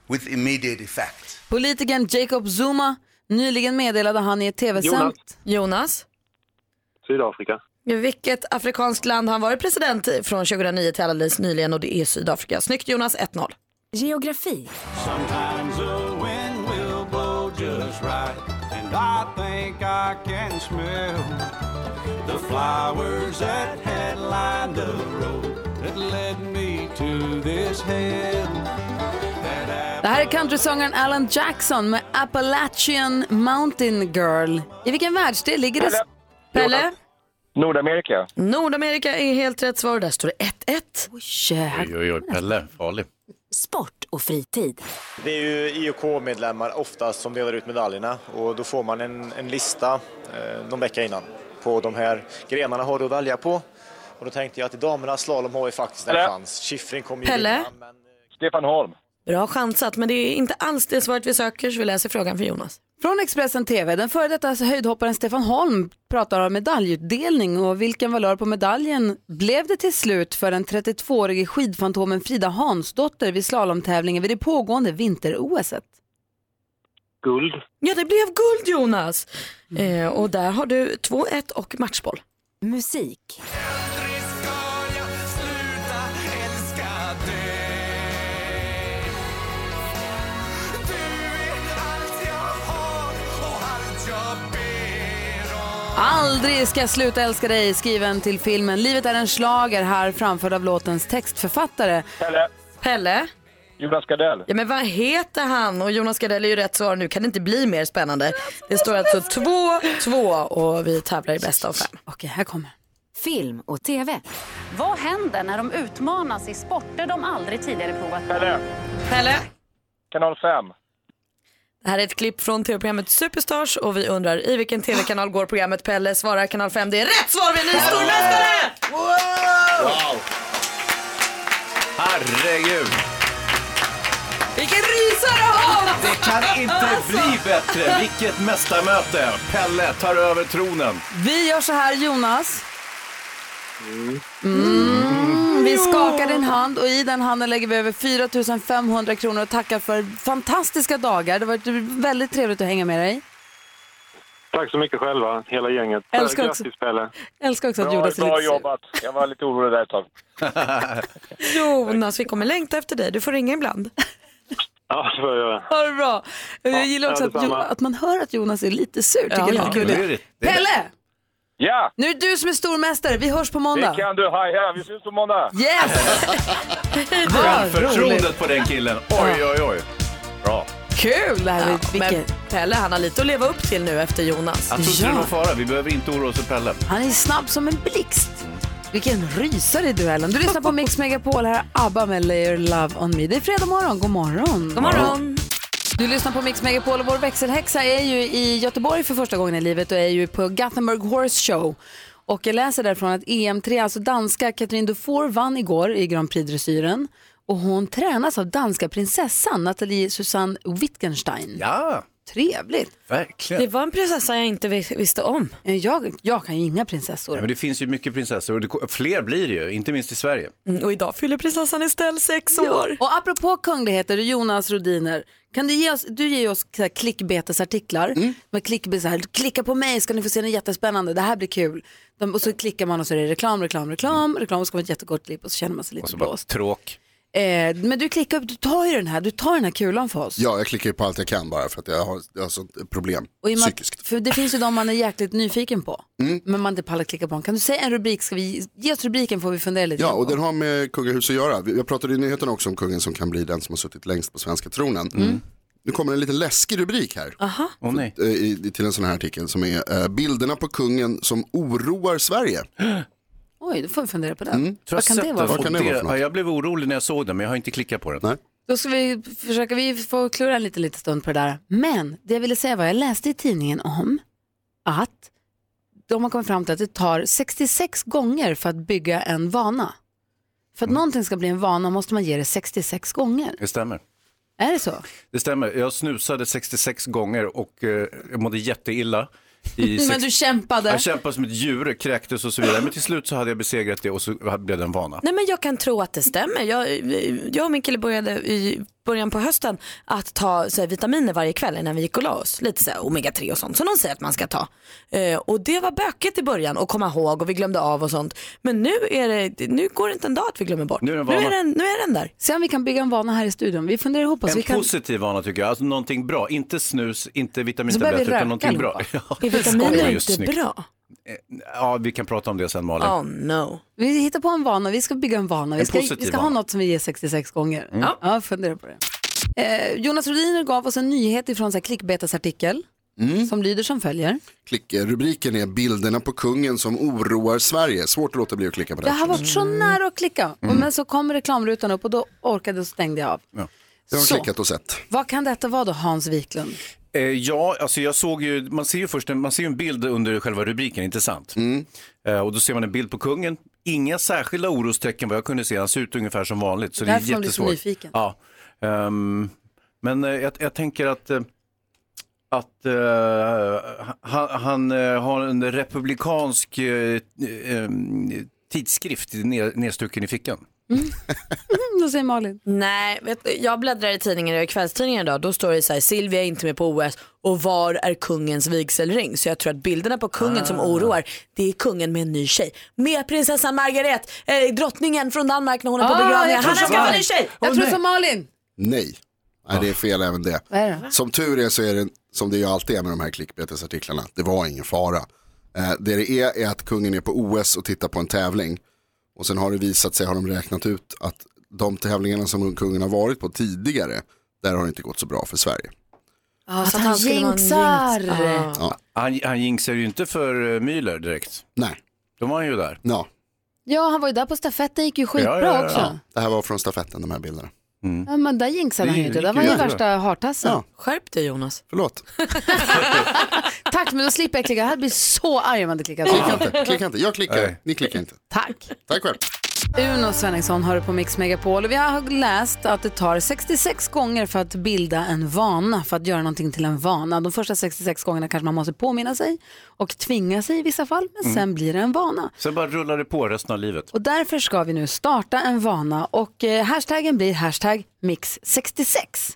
with immediate effect. Politikern Jacob Zuma. Nyligen meddelade han i ett tv-sänd... Jonas, Sydafrika. vilket afrikanskt land har han varit president i från 2009 till alldeles nyligen och det är Sydafrika. Snyggt Jonas, 1-0. geografi. Sometimes the wind will blow just right, and I think I can smell the flowers that had lined the road that led me to this hell. Det här är countrysångaren Alan Jackson med Appalachian Mountain Girl. I vilken världsdel ligger det? Pelle? Nordamerika. Nordamerika är helt rätt svar. Där står det 1-1. Oh, Oj, oj, oj, Pelle, farlig. Sport och fritid. Det är ju IOK-medlemmar oftast som delar ut medaljerna och då får man en, en lista eh, någon vecka innan på de här grenarna har du att välja på. Och då tänkte jag att i damernas slalom har vi faktiskt en chans. Kiffring kommer ju Pelle? vinna, men... Stefan Holm. Bra chansat, men det är inte alls det svaret vi söker så vi läser frågan för Jonas. Från Expressen TV. Den före detta höjdhopparen Stefan Holm pratar om medaljutdelning och vilken valör på medaljen blev det till slut för den 32-årige skidfantomen Frida Hansdotter vid slalomtävlingen vid det pågående vinter-OSet? Guld. Ja, det blev guld Jonas. Eh, och där har du 2-1 och matchboll. Musik. Aldrig ska jag sluta älska dig, skriven till filmen Livet är en slager här framförd av låtens textförfattare. Pelle. Pelle? Jonas Gardell. Ja men vad heter han? Och Jonas Gardell är ju rätt svar nu. Kan det inte bli mer spännande? Det står alltså 2-2 och vi tävlar i bästa av fem. Okej, här kommer. Film och tv. Vad händer när de utmanas i sporter de aldrig tidigare provat? Pelle. Pelle? Kanal 5. Det här är ett klipp från tv-programmet Superstars och vi undrar i vilken tv-kanal går programmet Pelle? Svarar kanal 5. Det är rätt svar! Vi är ny stormästare! Wow! Herregud! Vilken rysare av! Det kan inte Alltså. bli bättre! Vilket mästarmöte! Pelle tar över tronen. Vi gör så här Jonas. Mm, vi skakar din hand och i den handen lägger vi över 4 500 kronor och tackar för fantastiska dagar. Det har varit väldigt trevligt att hänga med dig. Tack så mycket själva, hela gänget. Älskar Eh, också- Grattis Pelle. Älskar också att Bra, Jonas är bra lite sur. jobbat. Jag var lite orolig där ett tag. Jonas, vi kommer längta efter dig. Du får ringa ibland. Ja, det får jag göra. Ha det bra. Jag gillar också ja, att, Jo- detsamma. att man hör att Jonas är lite sur. Tycker jag är lite gulligt. Pelle! Ja! Nu är det du som är stormästare. Vi hörs på måndag. Det kan du haja. Vi syns på måndag. Yes! Självförtroendet på den killen. Oj, oj, oj. Bra. Kul! Det här ja, är- men vilket- Pelle han har lite att leva upp till nu efter Jonas. Jag tror inte det är någon fara. Vi behöver inte oroa oss för Pelle. Han är snabb som en blixt. Vilken rysare i duellen. Du lyssnar på Mix Megapol. Här är ABBA med Layer Love On Me. Det är fredag morgon. God morgon. God morgon. Du lyssnar på Mix Megapol och vår växelhäxa är ju i Göteborg för första gången i livet och är ju på Gothenburg Horse Show. Och jag läser därifrån att EM3, alltså danska Katrin Dufour vann igår i Grand Prix-dressyren och hon tränas av danska prinsessan Nathalie Susanne Wittgenstein. Ja. Trevligt. Verkligen. Det var en prinsessa jag inte vis- visste om. Jag, jag kan ju inga prinsessor. Ja, men det finns ju mycket prinsessor och det, fler blir det ju, inte minst i Sverige. Mm, och idag fyller prinsessan Estelle sex år. Och apropå kungligheter, Jonas Rodiner, kan du ge oss, du ger ju oss så här klickbetesartiklar. Mm. Med klick, så här, klicka på mig ska ni få se något jättespännande, det här blir kul. De, och så klickar man och så är det reklam, reklam, Mm. reklam, reklam och så kommer ett jättegott klipp och så känner man sig lite blåst. Tråk. Eh, men du klickar upp, du tar ju den här, du tar den här kulan för oss. Ja, jag klickar ju på allt jag kan bara för att jag har, jag har sånt problem Och i och med att- psykiskt. Mm. För det finns ju de man är jäkligt nyfiken på, men man inte pallar klicka på dem. Kan du säga en rubrik, ska vi, ge oss rubriken får vi fundera lite. Ja, grann och på. den har med kungahus att göra. Vi- Jag pratade i nyheterna också om kungen som kan bli den som har suttit längst på svenska tronen. Nu kommer en lite läskig rubrik här. Aha. För- eh, i- i- Till en sån här artikel som är eh, bilderna på kungen som oroar Sverige. Oj, då får vi fundera på den. Mm. Vad kan det vara? Vad kan det vara för något? Ja, jag blev orolig när jag såg den, men jag har inte klickat på den. Nej. Då ska vi försöka, vi får klura en liten, liten stund på det där. Men det jag ville säga var, jag läste i tidningen om att de har kommit fram till att det tar 66 gånger för att bygga en vana. För att någonting ska bli en vana måste man ge det 66 gånger. Det stämmer. Är det så? Det stämmer. Jag snusade 66 gånger och eh, jag mådde jätteilla. I Men du kämpade. Jag kämpade som ett djur, kräktes och så vidare. Men till slut så hade jag besegrat det och så blev det en vana. Nej men jag kan tro att det stämmer. Jag, jag och min kille började i början på hösten att ta så här, vitaminer varje kväll innan vi gick och la oss. Lite så här, omega 3 och sånt som de säger att man ska ta. Eh, och det var bökigt i början att komma ihåg och vi glömde av och sånt. Men nu, är det, nu går det inte en dag att vi glömmer bort. Nu är, en vana. den, nu är den där. Se om vi kan bygga en vana här i studion. Vi funderar ihop oss. en vi kan... positiv vana tycker jag, alltså någonting bra. Inte snus, inte börjar vi vitamintabletter röka utan någonting bra. allihopa. Ja, Är vitaminer det var ju inte snyggt. bra? Ja, vi kan prata om det sen Malin. Oh no. Vi hittar på en vana, vi ska bygga en vana. Vi En ska, positiv vi ska ha vana. något som vi ger 66 gånger. Mm. Ja, ja fundera på det. Eh, Jonas Rhodiner gav oss en nyhet ifrån en klickbetesartikel som lyder som följer. Klick, eh, rubriken är bilderna på kungen som oroar Sverige. Svårt att låta bli att klicka på Det den. har varit så nära att klicka, och men så kom reklamrutan upp och då orkade och stängde jag av. Ja. Jag har Så. klickat och sett. Vad kan detta vara då, Hans Wiklund? Eh, ja, alltså jag såg ju, man ser ju först en, man ser ju en bild under själva rubriken, inte sant? Eh, och då ser man en bild på kungen. Inga särskilda orostecken vad jag kunde se, han ser ut ungefär som vanligt. Så det är Därför man blir så jättesvårt. nyfiken. Ja. Ehm, men eh, jag, jag tänker att, eh, att eh, han, han eh, har en republikansk eh, eh, tidskrift ned, nedstucken i fickan. Då säger Malin. Nej, vet, du, jag bläddrar i tidningar, i kvällstidningar idag, då står det så här, Silvia är inte med på OS och var är kungens vigselring? Så jag tror att bilderna på kungen som oroar, det är kungen med en ny tjej. Med prinsessan Margaret, eh, drottningen från Danmark när hon är på Ah, begravningen. jag tror Han har så. skaffat en ny tjej! Jag tror som Malin. Nej, Nej det är fel även det. Vad är det? Som tur är så är det som det ju alltid är med de här klickbetesartiklarna. Det var ingen fara. Eh, det det är är att kungen är på OS och tittar på en tävling. Och sen har det visat sig, har de räknat ut att de tävlingarna som kungen har varit på tidigare, där har det inte gått så bra för Sverige. att, han han skulle vara en jinxar. jinx. Ah. Ja. Han, han jinxar ju inte för eh, Müller direkt. Nej. Då var han ju där. Ja. Ja, han var ju där på stafetten, gick ju skitbra också. Ja. Det här var från stafetten, de här bilderna. men där jinxade han ju inte, det var ju Ja. värsta hartassen. Skärp dig Jonas. Förlåt. Tack, men då slipper jag klicka. Jag hade blivit så arg om jag hade klickat. Klicka inte, klicka inte. Jag klickar, ni klickar inte. Tack. Tack själv. Uno Svenningsson hör på Mix Megapol och vi har läst att det tar 66 gånger för att bilda en vana, för att göra någonting till en vana. De första 66 gångerna kanske man måste påminna sig och tvinga sig i vissa fall, men Mm. sen blir det en vana. Sen bara rullar det på resten av livet. Och därför ska vi nu starta en vana och eh, hashtaggen blir hashtag mix66.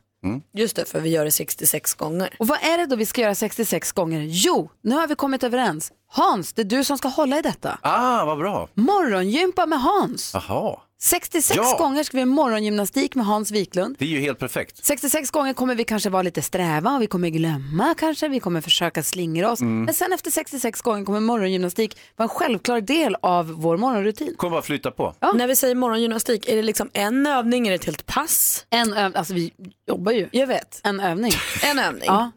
Just det, för vi gör det 66 gånger. Och vad är det då vi ska göra 66 gånger? Jo, nu har vi kommit överens. Hans, det är du som ska hålla i detta. Ah, vad bra. Morgongympa med Hans. Jaha, 66 Ja. gånger ska vi ha morgongymnastik med Hans Wiklund. det är ju helt perfekt. 66 gånger kommer vi kanske vara lite sträva och vi kommer glömma kanske, vi kommer försöka slingra oss. Mm. Men sen efter 66 gånger kommer morgongymnastik vara en självklar del av vår morgonrutin. Kommer bara flytta på. När vi säger morgongymnastik, är det liksom en övning, är det ett helt pass? En övning, alltså vi jobbar ju. Jag vet. En övning. En övning. Ja.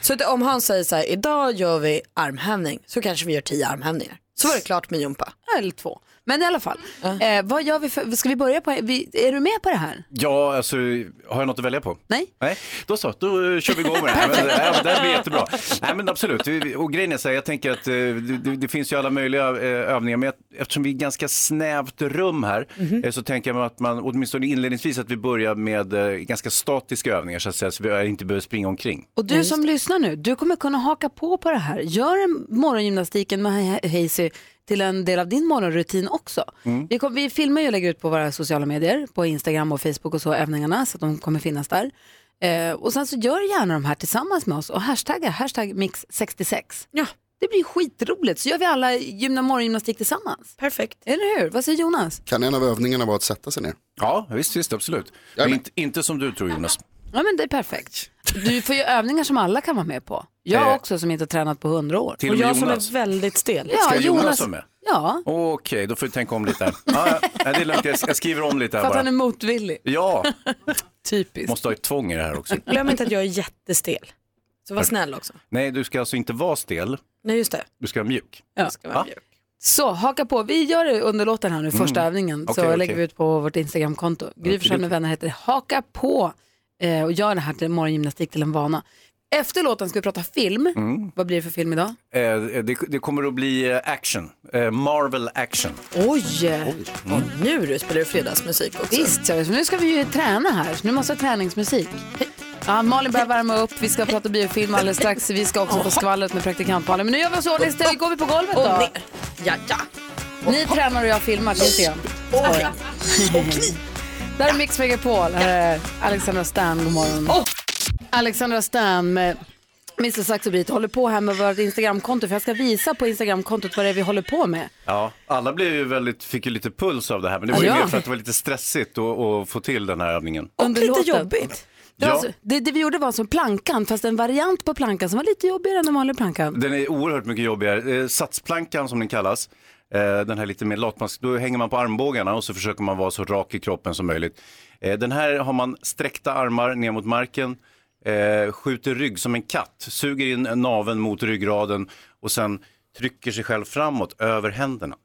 Så att om han säger så här, idag gör vi armhävning, så kanske vi gör tio armhävningar. Så var det klart med gympa. Eller två. Men i alla fall, eh, vad gör vi för, ska vi börja på, vi, är du med på det här? Ja, alltså, har jag något att välja på? Nej. Nej, då så, då eh, kör vi igång med det här. Men, ja, men det här blir jättebra. Nej, men absolut. Vi- Och grejen är så här, jag tänker att eh, det, det- det finns ju alla möjliga eh, övningar, men jag- eftersom vi är ganska snävt rum här, eh, så tänker jag att man, åtminstone inledningsvis, att vi börjar med eh, ganska statiska övningar, så att säga, så vi inte behöver springa omkring. Och du som lyssnar nu, du kommer kunna haka på på det här. Gör en morgongymnastiken med He- He- Hazy till en del av din morgonrutin också. Mm. Vi, kom, vi filmar ju och lägger ut på våra sociala medier, på Instagram och Facebook och så, övningarna, så att de kommer finnas där. Eh, och sen så gör gärna de här tillsammans med oss och hashtagga, hashtag mix66. Ja. Det blir skitroligt, så gör vi alla gymna morgongymnastik tillsammans. Perfekt. Eller hur? Vad säger Jonas? Kan en av övningarna vara att sätta sig ner? Ja, visst, visst absolut. Men inte, inte som du tror, Jonas. Ja men det är perfekt. Du får ju övningar som alla kan vara med på. Jag Eh. också som inte har tränat på hundra år. Till och med Och jag som är Jonas. väldigt stel. Ja, Ska Jonas, Jonas vara med? Ja, Okej, då får du tänka om lite. här. Ja, ja, det är lugnt, jag- jag skriver om lite för här att han är bara. motvillig. Ja, Typiskt. måste ha ett tvång i det här också. Glöm inte att jag är jättestel. Så var snäll också. Nej, du ska alltså inte vara stel, Nej just det. du ska vara mjuk. Ja. Va? Så haka på, vi gör det under låten här nu, första Mm. övningen. Så Okej, okej. lägger vi ut på vårt Instagramkonto. Gry Okej, Forssell med okej. vänner heter det. Haka på eh, och gör det här till morgongymnastik till en vana. Efter låten ska vi prata film. Mm. Vad blir det för film idag? Eh, det, det kommer att bli eh, action, eh, Marvel action. Oj! Mm. Nu du spelar du fredagsmusik också. Visst, så nu ska vi ju träna här, så nu måste jag ha träningsmusik. Ja, Malin börjar värma upp, vi ska prata biofilm alldeles strax. Vi ska också få skvallret med praktikant-Malin. Men nu gör vi oss i ordning, så går vi på golvet Och då. ner. Ja, ja. Ni tränar och jag filmar, det ser jag. Skoja. Där är Mix Megapol. Här är Alexandra Stan, god morgon. Alexandra Stan med Mr Saxobrit håller på här med vårt Instagramkonto för jag ska visa på Instagramkontot vad det är vi håller på med. Ja, alla blev ju väldigt, fick ju lite puls av det här, men det var ju Ja. mer för att det var lite stressigt att, att få till den här övningen. Under låten. Det, var Ja. alltså, det, det vi gjorde var som plankan, fast en variant på plankan som var lite jobbigare än den vanliga plankan. Den är oerhört mycket jobbigare. Eh, Satsplankan som den kallas, eh, den här lite mer latmask, då hänger man på armbågarna och så försöker man vara så rak i kroppen som möjligt. Eh, Den här har man sträckta armar ner mot marken, eh, skjuter rygg som en katt, suger in naveln mot ryggraden och sen trycker sig själv framåt över händerna.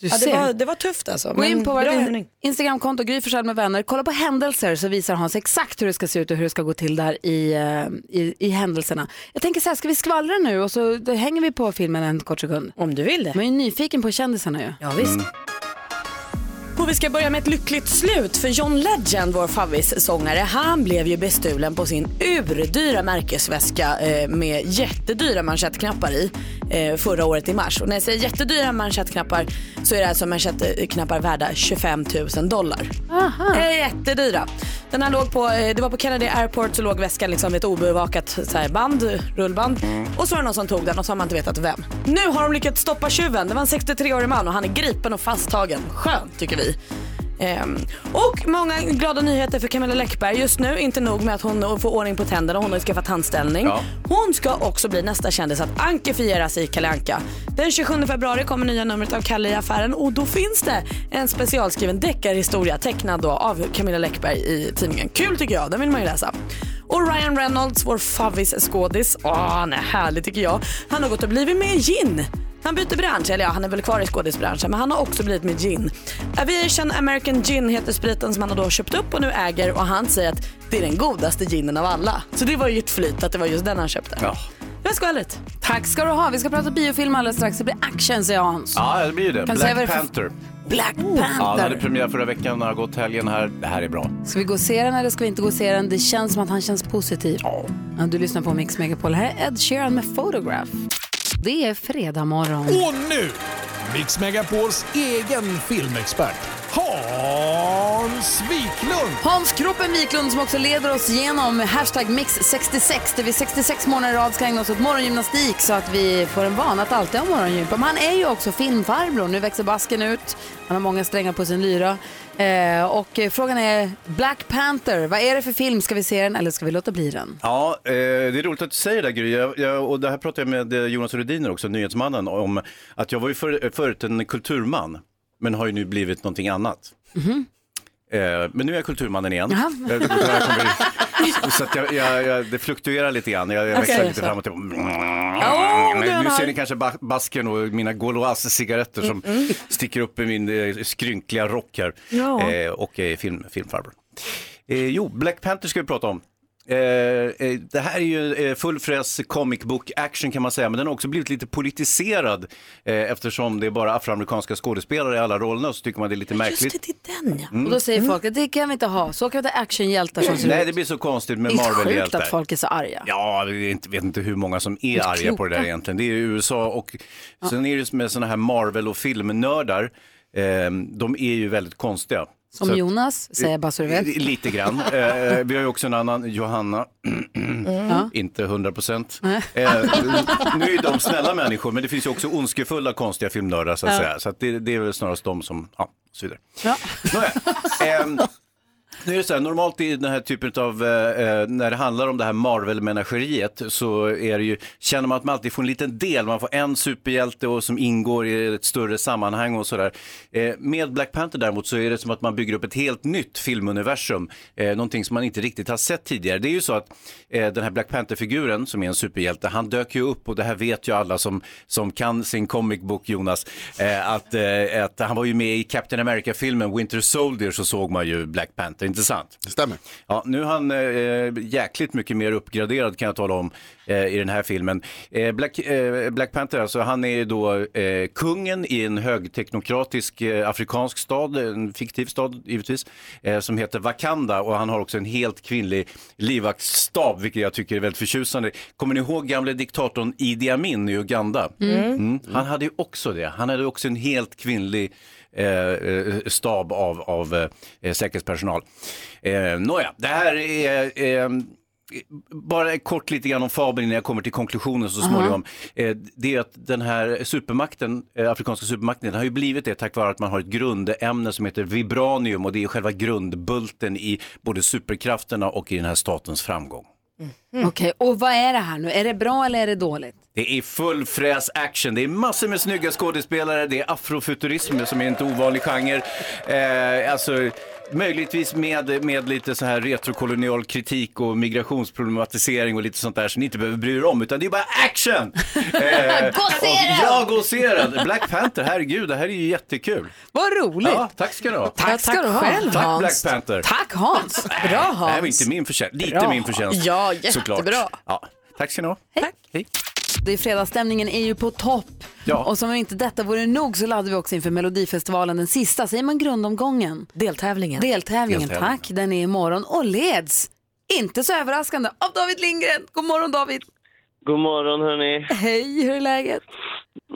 Du ja, det, ser. var, det var tufft alltså. Gå in men på bra vårt övning. Instagramkonto, Gry Forssell med vänner. Kolla på händelser så visar Hans exakt hur det ska se ut och hur det ska gå till där i, eh, i, i händelserna. Jag tänker så här, ska vi skvallra nu och så då hänger vi på filmen en kort sekund? Om du vill det. Man är ju nyfiken på kändisarna ju. Ja, visst. Och vi ska börja med ett lyckligt slut för John Legend, vår favvissångare, han blev ju bestulen på sin urdyra märkesväska eh, med jättedyra manschettknappar i eh, förra året i mars. Och när jag säger jättedyra manschettknappar så är det alltså manschettknappar värda 25 000 dollar. Aha. Eh, Jättedyra. Den här låg på, eh, det var på Kennedy Airport så låg väskan liksom vid ett obevakat så här band, rullband. Och så var det någon som tog den och så har man inte vetat vem. Nu har de lyckats stoppa tjuven. Det var en 63-årig man och han är gripen och fasttagen. Skönt tycker vi. Ehm, och många glada nyheter för Camilla Läckberg just nu. Inte nog med att hon får ordning på tänderna, hon har ju skaffat tandställning. Ja. Hon ska också bli nästa kändis att ankefieras i Kalle Anka. Den 27 februari kommer nya numret av Kalle i affären och då finns det en specialskriven deckarhistoria tecknad då av Camilla Läckberg i tidningen. Kul tycker jag, den vill man ju läsa. Och Ryan Reynolds, vår favvis-skådis, åh han är härlig tycker jag. Han har gått och blivit med i gin. Han byter bransch, eller ja han är väl kvar i skådisbranschen men han har också blivit med gin. Aviation American Gin heter spriten som han då har köpt upp och nu äger och han säger att det är den godaste ginen av alla. Så det var ju ett flyt att det var just den han köpte. Ja, Det var skvallret. Tack ska du ha. Vi ska prata biofilm alldeles strax. Det blir action säger Hans. ja det blir ju det. Kan du Black säga vad det är för- Panther. Black Ja, den hade Panther. premiär förra veckan, den har gått helgen här. Det här är bra. Ska vi gå och se den eller ska vi inte gå och se den? Det känns som att han känns positiv. Ja, du lyssnar på Mix Megapol. Här är Ed Sheeran med Photograph. Det är fredag morgon. Och nu, Mix Megapols egen filmexpert, Hans Wiklund. Hans Kroppen Wiklund som också leder oss genom hashtag mix66 där vi 66 månader i rad ska ägna oss åt morgongymnastik så att vi får en vana att alltid ha morgongympa. Men han är ju också filmfarbror. Nu växer basken ut. Han har många strängar på sin lyra. Eh, och eh, frågan är Black Panther. Vad är det för film? Ska vi se den eller ska vi låta bli den? Ja, eh, det är roligt att du säger det här, Gry. Jag, jag, och det här pratade jag med eh, Jonas Rudiner också, nyhetsmannen, om att jag var ju för, förut en kulturman, men har ju nu blivit någonting annat. Eh, men nu är jag kulturmannen igen. Eh, det här kommer ju- Så att jag, jag, jag, det fluktuerar lite grann, jag, jag Okej. växlar lite fram och tillbaka. Nej, det är men han nu ser här. ni kanske ba- basken och mina Gauloises cigaretter som sticker upp i min eh, skrynkliga rock här. Ja. Eh, och eh, film, filmfarbror. Eh, jo, Black Panther ska vi prata om. Eh, eh, det här är ju eh, full fräs comic book action kan man säga, men den har också blivit lite politiserad eh, eftersom det är bara afroamerikanska skådespelare i alla rollerna så tycker man det är lite märkligt. Den ja. Mm. Och då säger folk att det kan vi inte ha, så kan vi inte ha actionhjältar som ser Nej, ut. det blir så konstigt med Det är sjukt Marvel-hjältar. att folk är så arga. Ja, vi vet inte- vet inte hur många som är är arga på det där kloka. egentligen. Det är ju USA och sen är det ju med sådana här Marvel och filmnördar. ehm, de är ju väldigt konstiga. Som Så att- Jonas, säger jag bara så du vet. Lite grann. Eh, vi har ju också en annan, Johanna, inte 100 procent. Eh, nu är ju de snälla människor, men det finns ju också ondskefulla, konstiga filmnördar så att Ja. säga. Så att det, det är väl snarast de som, ja, och så vidare. Nåja, ehm, nu är det så här, normalt i den här typen av, eh, eh, när det handlar om det här Marvel-menageriet så är det ju, känner man att man alltid får en liten del, man får en superhjälte och som ingår i ett större sammanhang och sådär. Eh, med Black Panther däremot så är det som att man bygger upp ett helt nytt filmuniversum, eh, någonting som man inte riktigt har sett tidigare. Det är ju så att eh, den här Black Panther-figuren som är en superhjälte, han dök ju upp och det här vet ju alla som, som kan sin comic book Jonas, eh, att, eh, att han var ju med i Captain America-filmen Winter Soldier så såg man ju Black Panther, inte sant? Det stämmer. Ja, nu är han eh, jäkligt mycket mer uppgraderad kan jag tala om eh, i den här filmen. Eh, Black, eh, Black Panther, alltså, han är ju då eh, kungen i en högteknokratisk eh, afrikansk stad, en fiktiv stad givetvis, eh, som heter Wakanda och han har också en helt kvinnlig livvaktsstab, vilket jag tycker är väldigt förtjusande. Kommer ni ihåg gamle diktatorn Idi Amin i Uganda? Mm. Han hade ju också det. Han hade också en helt kvinnlig eh, eh, stab av, av eh, säkerhetspersonal. Eh, Nåja, det här är... Eh, bara kort lite grann om fabeln innan jag kommer till konklusionen så småningom. Eh, Det är att den här supermakten, eh, afrikanska supermakten, den har ju blivit det tack vare att man har ett grundämne som heter vibranium och det är själva grundbulten i både superkrafterna och i den här statens framgång. Okej, och vad är det här nu? Är det bra eller är det dåligt? Det är full fräs action, det är massor med snygga skådespelare, det är afrofuturism som är en inte ovanlig genre. Eh, alltså, möjligtvis med, med lite så här retrokolonial kritik och migrationsproblematisering och lite sånt där som ni inte behöver bry er om, utan det är bara action! Eh, Gåserad! Ja, gåserad! Black Panther, herregud, det här är ju jättekul. Vad roligt! Ja, tack ska du ha. Tack ska du ha. Själv, Tack Hans. Black Panther. Tack Hans! Bra Det här Hans! var inte min förtjänst, lite Bra. min förtjänst. Ja, såklart. jättebra. Ja, tack ska ni ha. Hej. Hej. Det är fredagsstämningen är ju på topp. Ja. Och som om inte detta vore nog så laddade vi också inför Melodifestivalen, den sista, säger man grundomgången? Deltävlingen. Deltävlingen, Deltävlingen. tack. Den är imorgon och leds, inte så överraskande, av David Lindgren. God morgon David! God morgon hörni. Hej, hur är läget?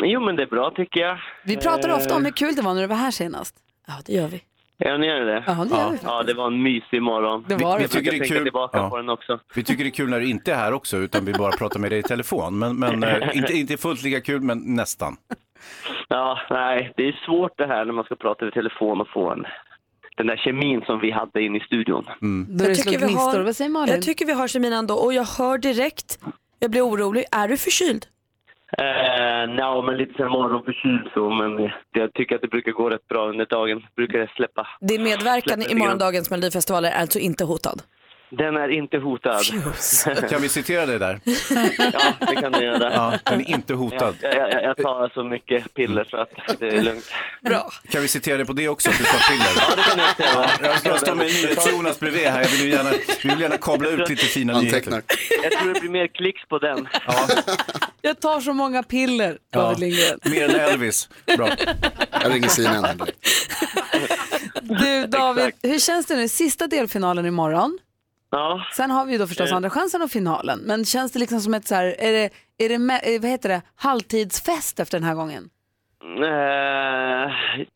Jo men det är bra tycker jag. Vi pratar ofta om Eh, hur kul det var när du var här senast. Ja, det gör vi. Ja ni gör det? Ja, det gör vi faktiskt. Ja det var en mysig morgon. Det var Vi- det. vi Jag tycker brukar det är tänka kul- tillbaka ja. på den också. Vi tycker det är kul när du inte är här också, utan vi bara pratar med dig i telefon. Men, men eh, inte, inte fullt lika kul, men nästan. Ja, nej det är svårt det här när man ska prata över telefon och få en, den där kemin som vi hade inne i studion. Då det slog gnistor. Vad säger Malin? jag tycker vi har kemin ändå och jag hör direkt, jag blir orolig, är du förkyld? Eh, Nja, men lite sen morgonförkyld så, men jag tycker att det brukar gå rätt bra under dagen. Brukar det släppa. Din medverkan Släpper i vi morgondagens melodifestivaler är alltså inte hotad. Den är inte hotad. Kan vi citera dig där? Ja, det kan du göra. Ja, den är inte hotad. Jag, jag, jag- jag tar så mycket piller så att det är lugnt. Bra. Kan vi citera dig på det också, att du tar piller? Jag ska stå med NyhetsJonas bredvid här. Jag vill ju gärna, vi vill gärna kabla ut lite fina nyheter. Jag tror det blir mer klicks på den. Jag tar så många piller, Ja, David Lindgren. mer än Elvis. Bra. Jag ringer Sina. Du David, hur känns det nu? Sista delfinalen imorgon. Ja. Sen har vi ju då förstås Eh. andra chansen och finalen. Men känns det liksom som ett så här, är det, är det med, eh, vad heter det, halvtidsfest efter den här gången? Eh,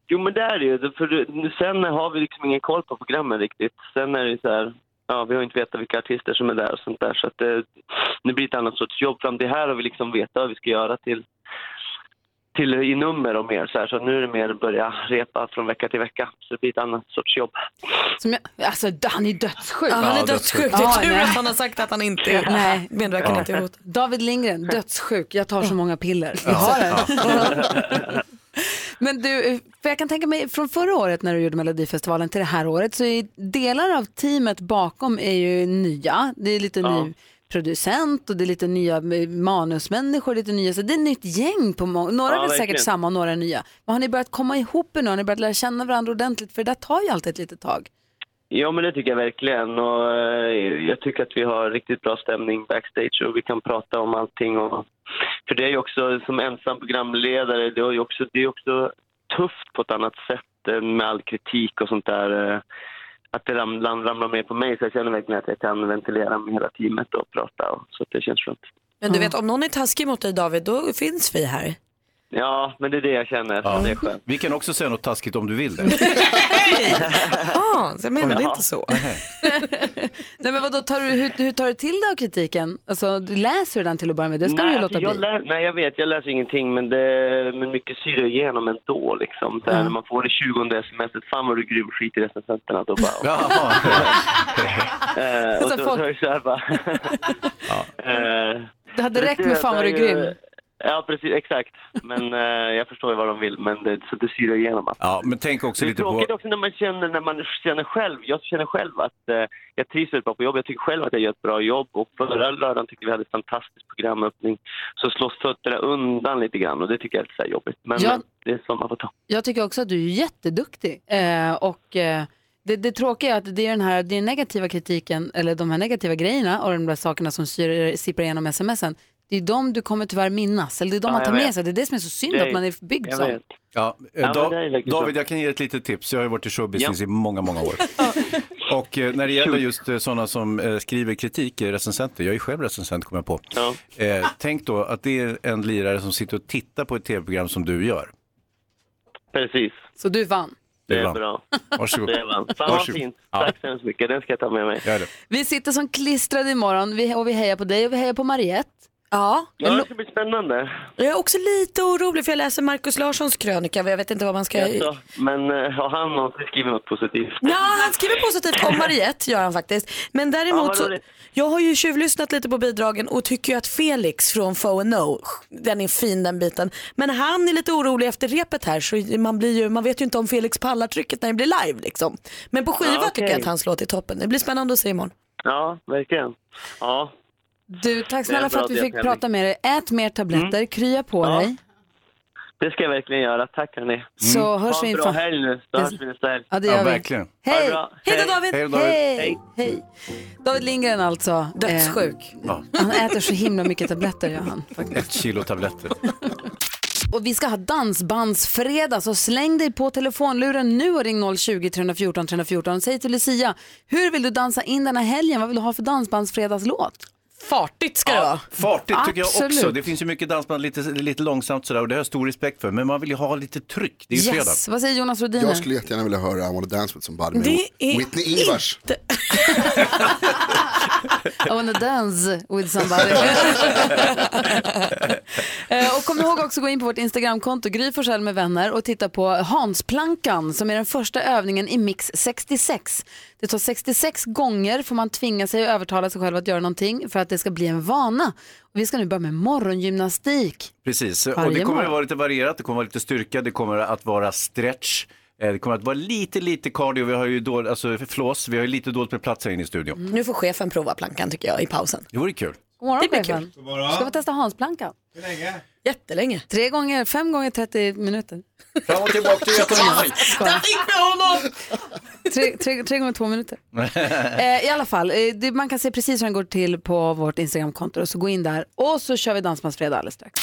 jo, men det är det ju. För det- sen har vi liksom ingen koll på programmen riktigt. Sen är det ju så här, ja, vi har inte vetat vilka artister som är där och sånt där. Så att det, det blir ett annat sorts jobb. Fram till här har vi liksom vetat vad vi ska göra till, till i nummer och mer. Så, här, så nu är det mer att börja repa från vecka till vecka. Så det blir ett annat sorts jobb. Som jag, alltså d- han är dödssjuk. Ja, han är Ja, dödssjuk. dödssjuk. Det är Ja, tur nej. att han har sagt att han inte är- Nej. medverkan inte är hot. David Lindgren, dödssjuk, jag tar så många piller. Jag Ja. har det. Men du, för jag kan tänka mig från förra året när du gjorde Melodifestivalen till det här året så är delar av teamet bakom är ju nya. Det är lite Ja. ny producent och det är lite nya eh, manusmänniskor, lite nya, så det är ett nytt gäng på många, några Ja, är väl verkligen. säkert samma och några är nya. Men har ni börjat komma ihop er nu, har ni börjat lära känna varandra ordentligt? För det där tar ju alltid ett litet tag. Ja, men det tycker jag verkligen. Och eh, jag tycker att vi har riktigt bra stämning backstage och vi kan prata om allting. Och... För det är ju också, som ensam programledare, det är ju också, det är också tufft på ett annat sätt eh, med all kritik och sånt där. eh, Att det ramlar, ramlar mer på mig, så jag känner verkligen att jag kan ventilera med hela teamet och prata. Och, så att det känns skönt. Men du vet om någon är taskig mot dig David då finns vi här. Ja, men det är det jag känner. Ja. Det är skönt. Vi kan också säga något taskigt om du vill det. Hans, jag menade inte så. Nej men vadå, tar du, hur, hur tar du till dig av kritiken? Alltså du läser du den till att börja med, det ska du Nej, ju alltså, låta jag bli. lä- Nej, jag vet, jag läser ingenting, men, det, men mycket syre igenom ändå. Liksom. Så här, Ja. När man får det 20 smset, fan vad du gruvskit i recensenterna. Då bara... Eh, och Alltså, då, folk- då är det så här bara... Eh, Det hade men räckt med fan vad du är det är ju- grym. Ja, precis, exakt. Men eh, jag förstår ju vad de vill, men det, så det syrar igenom. Alltså. Ja, men tänk också Det är lite på... tråkigt också när man, känner, när man känner själv, jag känner själv att eh, jag trivs väldigt bra på jobbet. Jag tycker själv att jag gör ett bra jobb och förra lördagen tyckte vi hade ett fantastiskt programöppning. Så slås fötterna undan lite grann och det tycker jag är lite så här jobbigt. Men Ja. eh, det är sånt man får ta. Jag tycker också att du är jätteduktig. Eh, och eh, det, det tråkiga är att det är den här det är den negativa kritiken, eller de här negativa grejerna och de där sakerna som syr, sipprar igenom smsen. Det är de du kommer tyvärr minnas, eller det är de Ja, man jag tar med vet. sig. Det är det som är så synd Det är- att man är byggd jag som. vet. Ja, eh, Ja, men Da- det är verkligen David, så. jag kan ge ett litet tips. Jag har ju varit i showbusiness i många, många år. Och eh, när det gäller just eh, sådana som eh, skriver kritik, eh, recensenter, jag är själv recensent kommer jag på. Eh, tänk då att det är en lirare som sitter och tittar på ett tv-program som du gör. Precis. Så du vann. Det Det är vann. bra. Varsågod. Det är bra. Fan vad Varsågod. fint. Ja. Tack så hemskt mycket. Den ska jag ta med mig. Gör det. Vi sitter som klistrade imorgon vi, och vi hejar på dig och vi hejar på Mariette. Ja. Ja, det ska bli spännande. Jag är också lite orolig för jag läser Markus Larssons krönika men jag vet inte vad man ska... Jaså, Men eh, har han någonsin skrivit något positivt? Ja, han skriver positivt om Mariette gör han faktiskt. Men Ja, däremot vad så, roligt. jag har ju tjuvlyssnat lite på bidragen och tycker ju att Felix från Fo No, den är fin den biten. Men han är lite orolig efter repet här så man, blir ju, man vet ju inte om Felix pallar trycket när det blir live liksom. Men på skiva Ja, okej. tycker jag att hans låt är toppen. Det blir spännande att se imorgon. Ja, verkligen. Ja. Du, tack Det är snälla en för bra att vi fick deltävling. prata med dig. Ät mer tabletter, Mm. krya på dig. Det ska jag verkligen göra. Tack hörni. Så hörs Mm. ha vi en bra inför- helg nu. Så hörs vi nästa helg. Ja, det gör vi. Ha det Hej! bra. Hej då David! Hej då, Hej! Hej. Hej. David Lindgren alltså. Dödssjuk. Ja. Eh, han äter så himla mycket tabletter, gör han. Ett kilo tabletter. Och vi ska ha dansbandsfredag, så släng dig på telefonluren nu och ring 020-314 314. Säg till Lucia, hur vill du dansa in den här helgen? Vad vill du ha för dansbandsfredagslåt? Fartigt ska det vara. Fartigt tycker jag också. Absolut. Det finns ju mycket dansband lite, lite långsamt sådär och det har jag stor respekt för. Men man vill ju ha lite tryck. Det är ju fredag. Vad säger Jonas Rhodiner? Jag skulle jättegärna vilja höra I wanna dance with somebody med Det är Whitney Ingvars. I wanna dance with somebody. Eh, och kom ihåg också att gå in på vårt Instagramkonto, Gry Forssell med vänner och titta på Hansplankan som är den första övningen i Mix 66. Det tar 66 gånger får man tvinga sig och övertala sig själv att göra någonting för att det ska bli en vana. Och vi ska nu börja med morgongymnastik. Precis, och Varje det kommer att morgon. vara lite varierat, det kommer att vara lite styrka, det kommer att vara stretch, eh, det kommer att vara lite, lite cardio, vi har ju då, alltså flås, vi har ju lite dåligt med plats här inne i studion. Mm. Nu får chefen prova plankan tycker jag i pausen. Det vore kul. God morgon, Det blir chefen. kul. God morgon. Ska vi testa Hansplankan? Hur länge? Jättelänge. Tre gånger, fem gånger 30 minuter. Fram och tillbaka till Göteborg. Där fick vi honom! Tre, tre, tre gånger två minuter. Eh, I alla fall, eh, det, man kan se precis hur den går till på vårt Instagramkonto. Så gå in där och så kör vi Dansbandsfredag alldeles strax.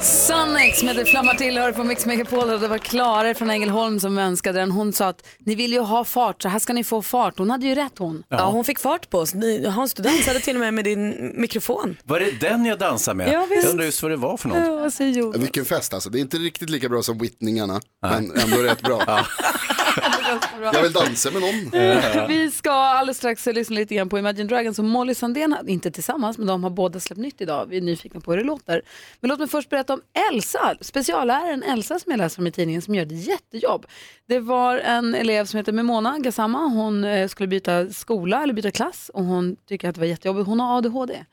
Sannex med Det flammar till hör på Mix Megapol och det var Klara från Ängelholm som önskade den. Hon sa att ni vill ju ha fart så här ska ni få fart. Hon hade ju rätt hon. Ja, hon fick fart på oss. Ni- Hans, du dansade till och med med din mikrofon. Var det den jag dansade med? Ja, visst. Jag undrar just vad det var för något. vad säger Jonas? Vilken fest alltså. Det är inte riktigt lika bra som Whitningarna, men ändå rätt bra. Jag vill dansa med någon. Vi ska alldeles strax lyssna lite grann på Imagine Dragons och Molly Sandén, har- inte tillsammans, men de har båda släppt nytt idag. Vi är nyfikna på hur det låter. Men låt mig först berätta om Elsa, specialläraren Elsa som jag läser om i tidningen som gör ett jättejobb. Det var en elev som heter Memona Gassama, hon eh, skulle byta skola eller byta klass och hon tycker att det var jättejobbigt. Hon har ADHD.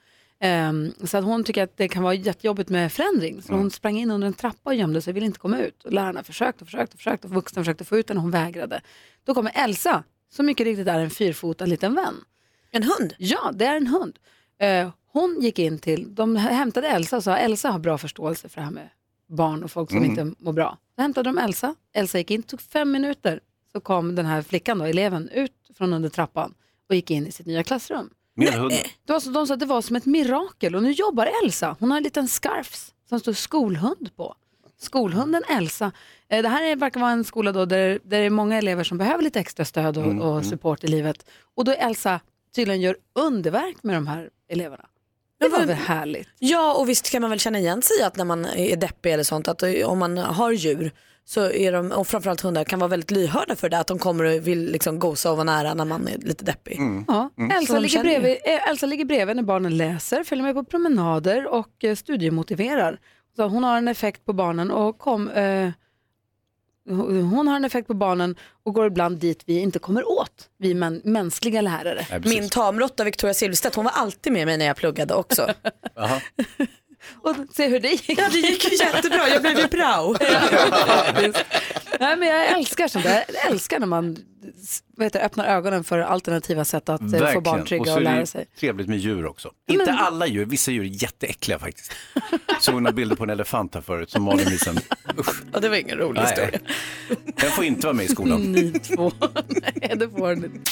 Ehm, så att hon tycker att det kan vara jättejobbigt med förändring. Så hon sprang in under en trappa och gömde sig och ville inte komma ut. Och lärarna försökte och försökte och försökte och vuxna försökte få ut henne och hon vägrade. Då kommer Elsa, som mycket riktigt är en fyrfotad liten vän. En hund? Ja, det är en hund. Eh, hon gick in till, de hämtade Elsa och sa Elsa har bra förståelse för det här med barn och folk som Mm. inte mår bra. Då hämtade de Elsa, Elsa gick in, tog fem minuter, så kom den här flickan då, eleven, ut från under trappan och gick in i sitt nya klassrum. Med hunden. Det var så, de sa att det var som ett mirakel och nu jobbar Elsa. Hon har en liten scarfs som står skolhund på. Skolhunden Elsa. Eh, Det här är- verkar vara en skola då där, där det är många elever som behöver lite extra stöd och, Mm, mm. och support i livet. Och då Elsa tydligen gör underverk med de här eleverna. Det var väl härligt? Ja och visst kan man väl känna igen sig i att när man är deppig eller sånt att eh, om man har djur så är de, och framförallt hundar, kan vara väldigt lyhörda för det att de kommer och vill liksom gosa och vara nära när man är lite deppig. Ja, Mm. Så Elsa, de ligger känner ju. bredvid, eh, Elsa ligger bredvid när barnen läser, följer med på promenader och eh, studiemotiverar. Så hon har en effekt på barnen och kom, eh, hon hon har en effekt på barnen och går ibland dit vi inte kommer åt, vi män, mänskliga lärare. Nej, precis. Min tamrotta Victoria Silvstedt, hon var alltid med mig när jag pluggade också. och se hur det gick. Ja, det gick ju jättebra. Jag blev ju prao. Nej, men jag älskar sånt där. Jag älskar när man s- vad heter, det, öppnar ögonen för alternativa sätt att eh, få barn trygga och, så är det lära ju sig. Trevligt med djur också. Inte alla djur, vissa djur är jätteäckliga faktiskt. Såg några bilder på en elefant här förut som Malin visade. Usch. Ja, det var ingen rolig historia. Den får inte vara med i skolan. Ni två. Nej, det får ni inte.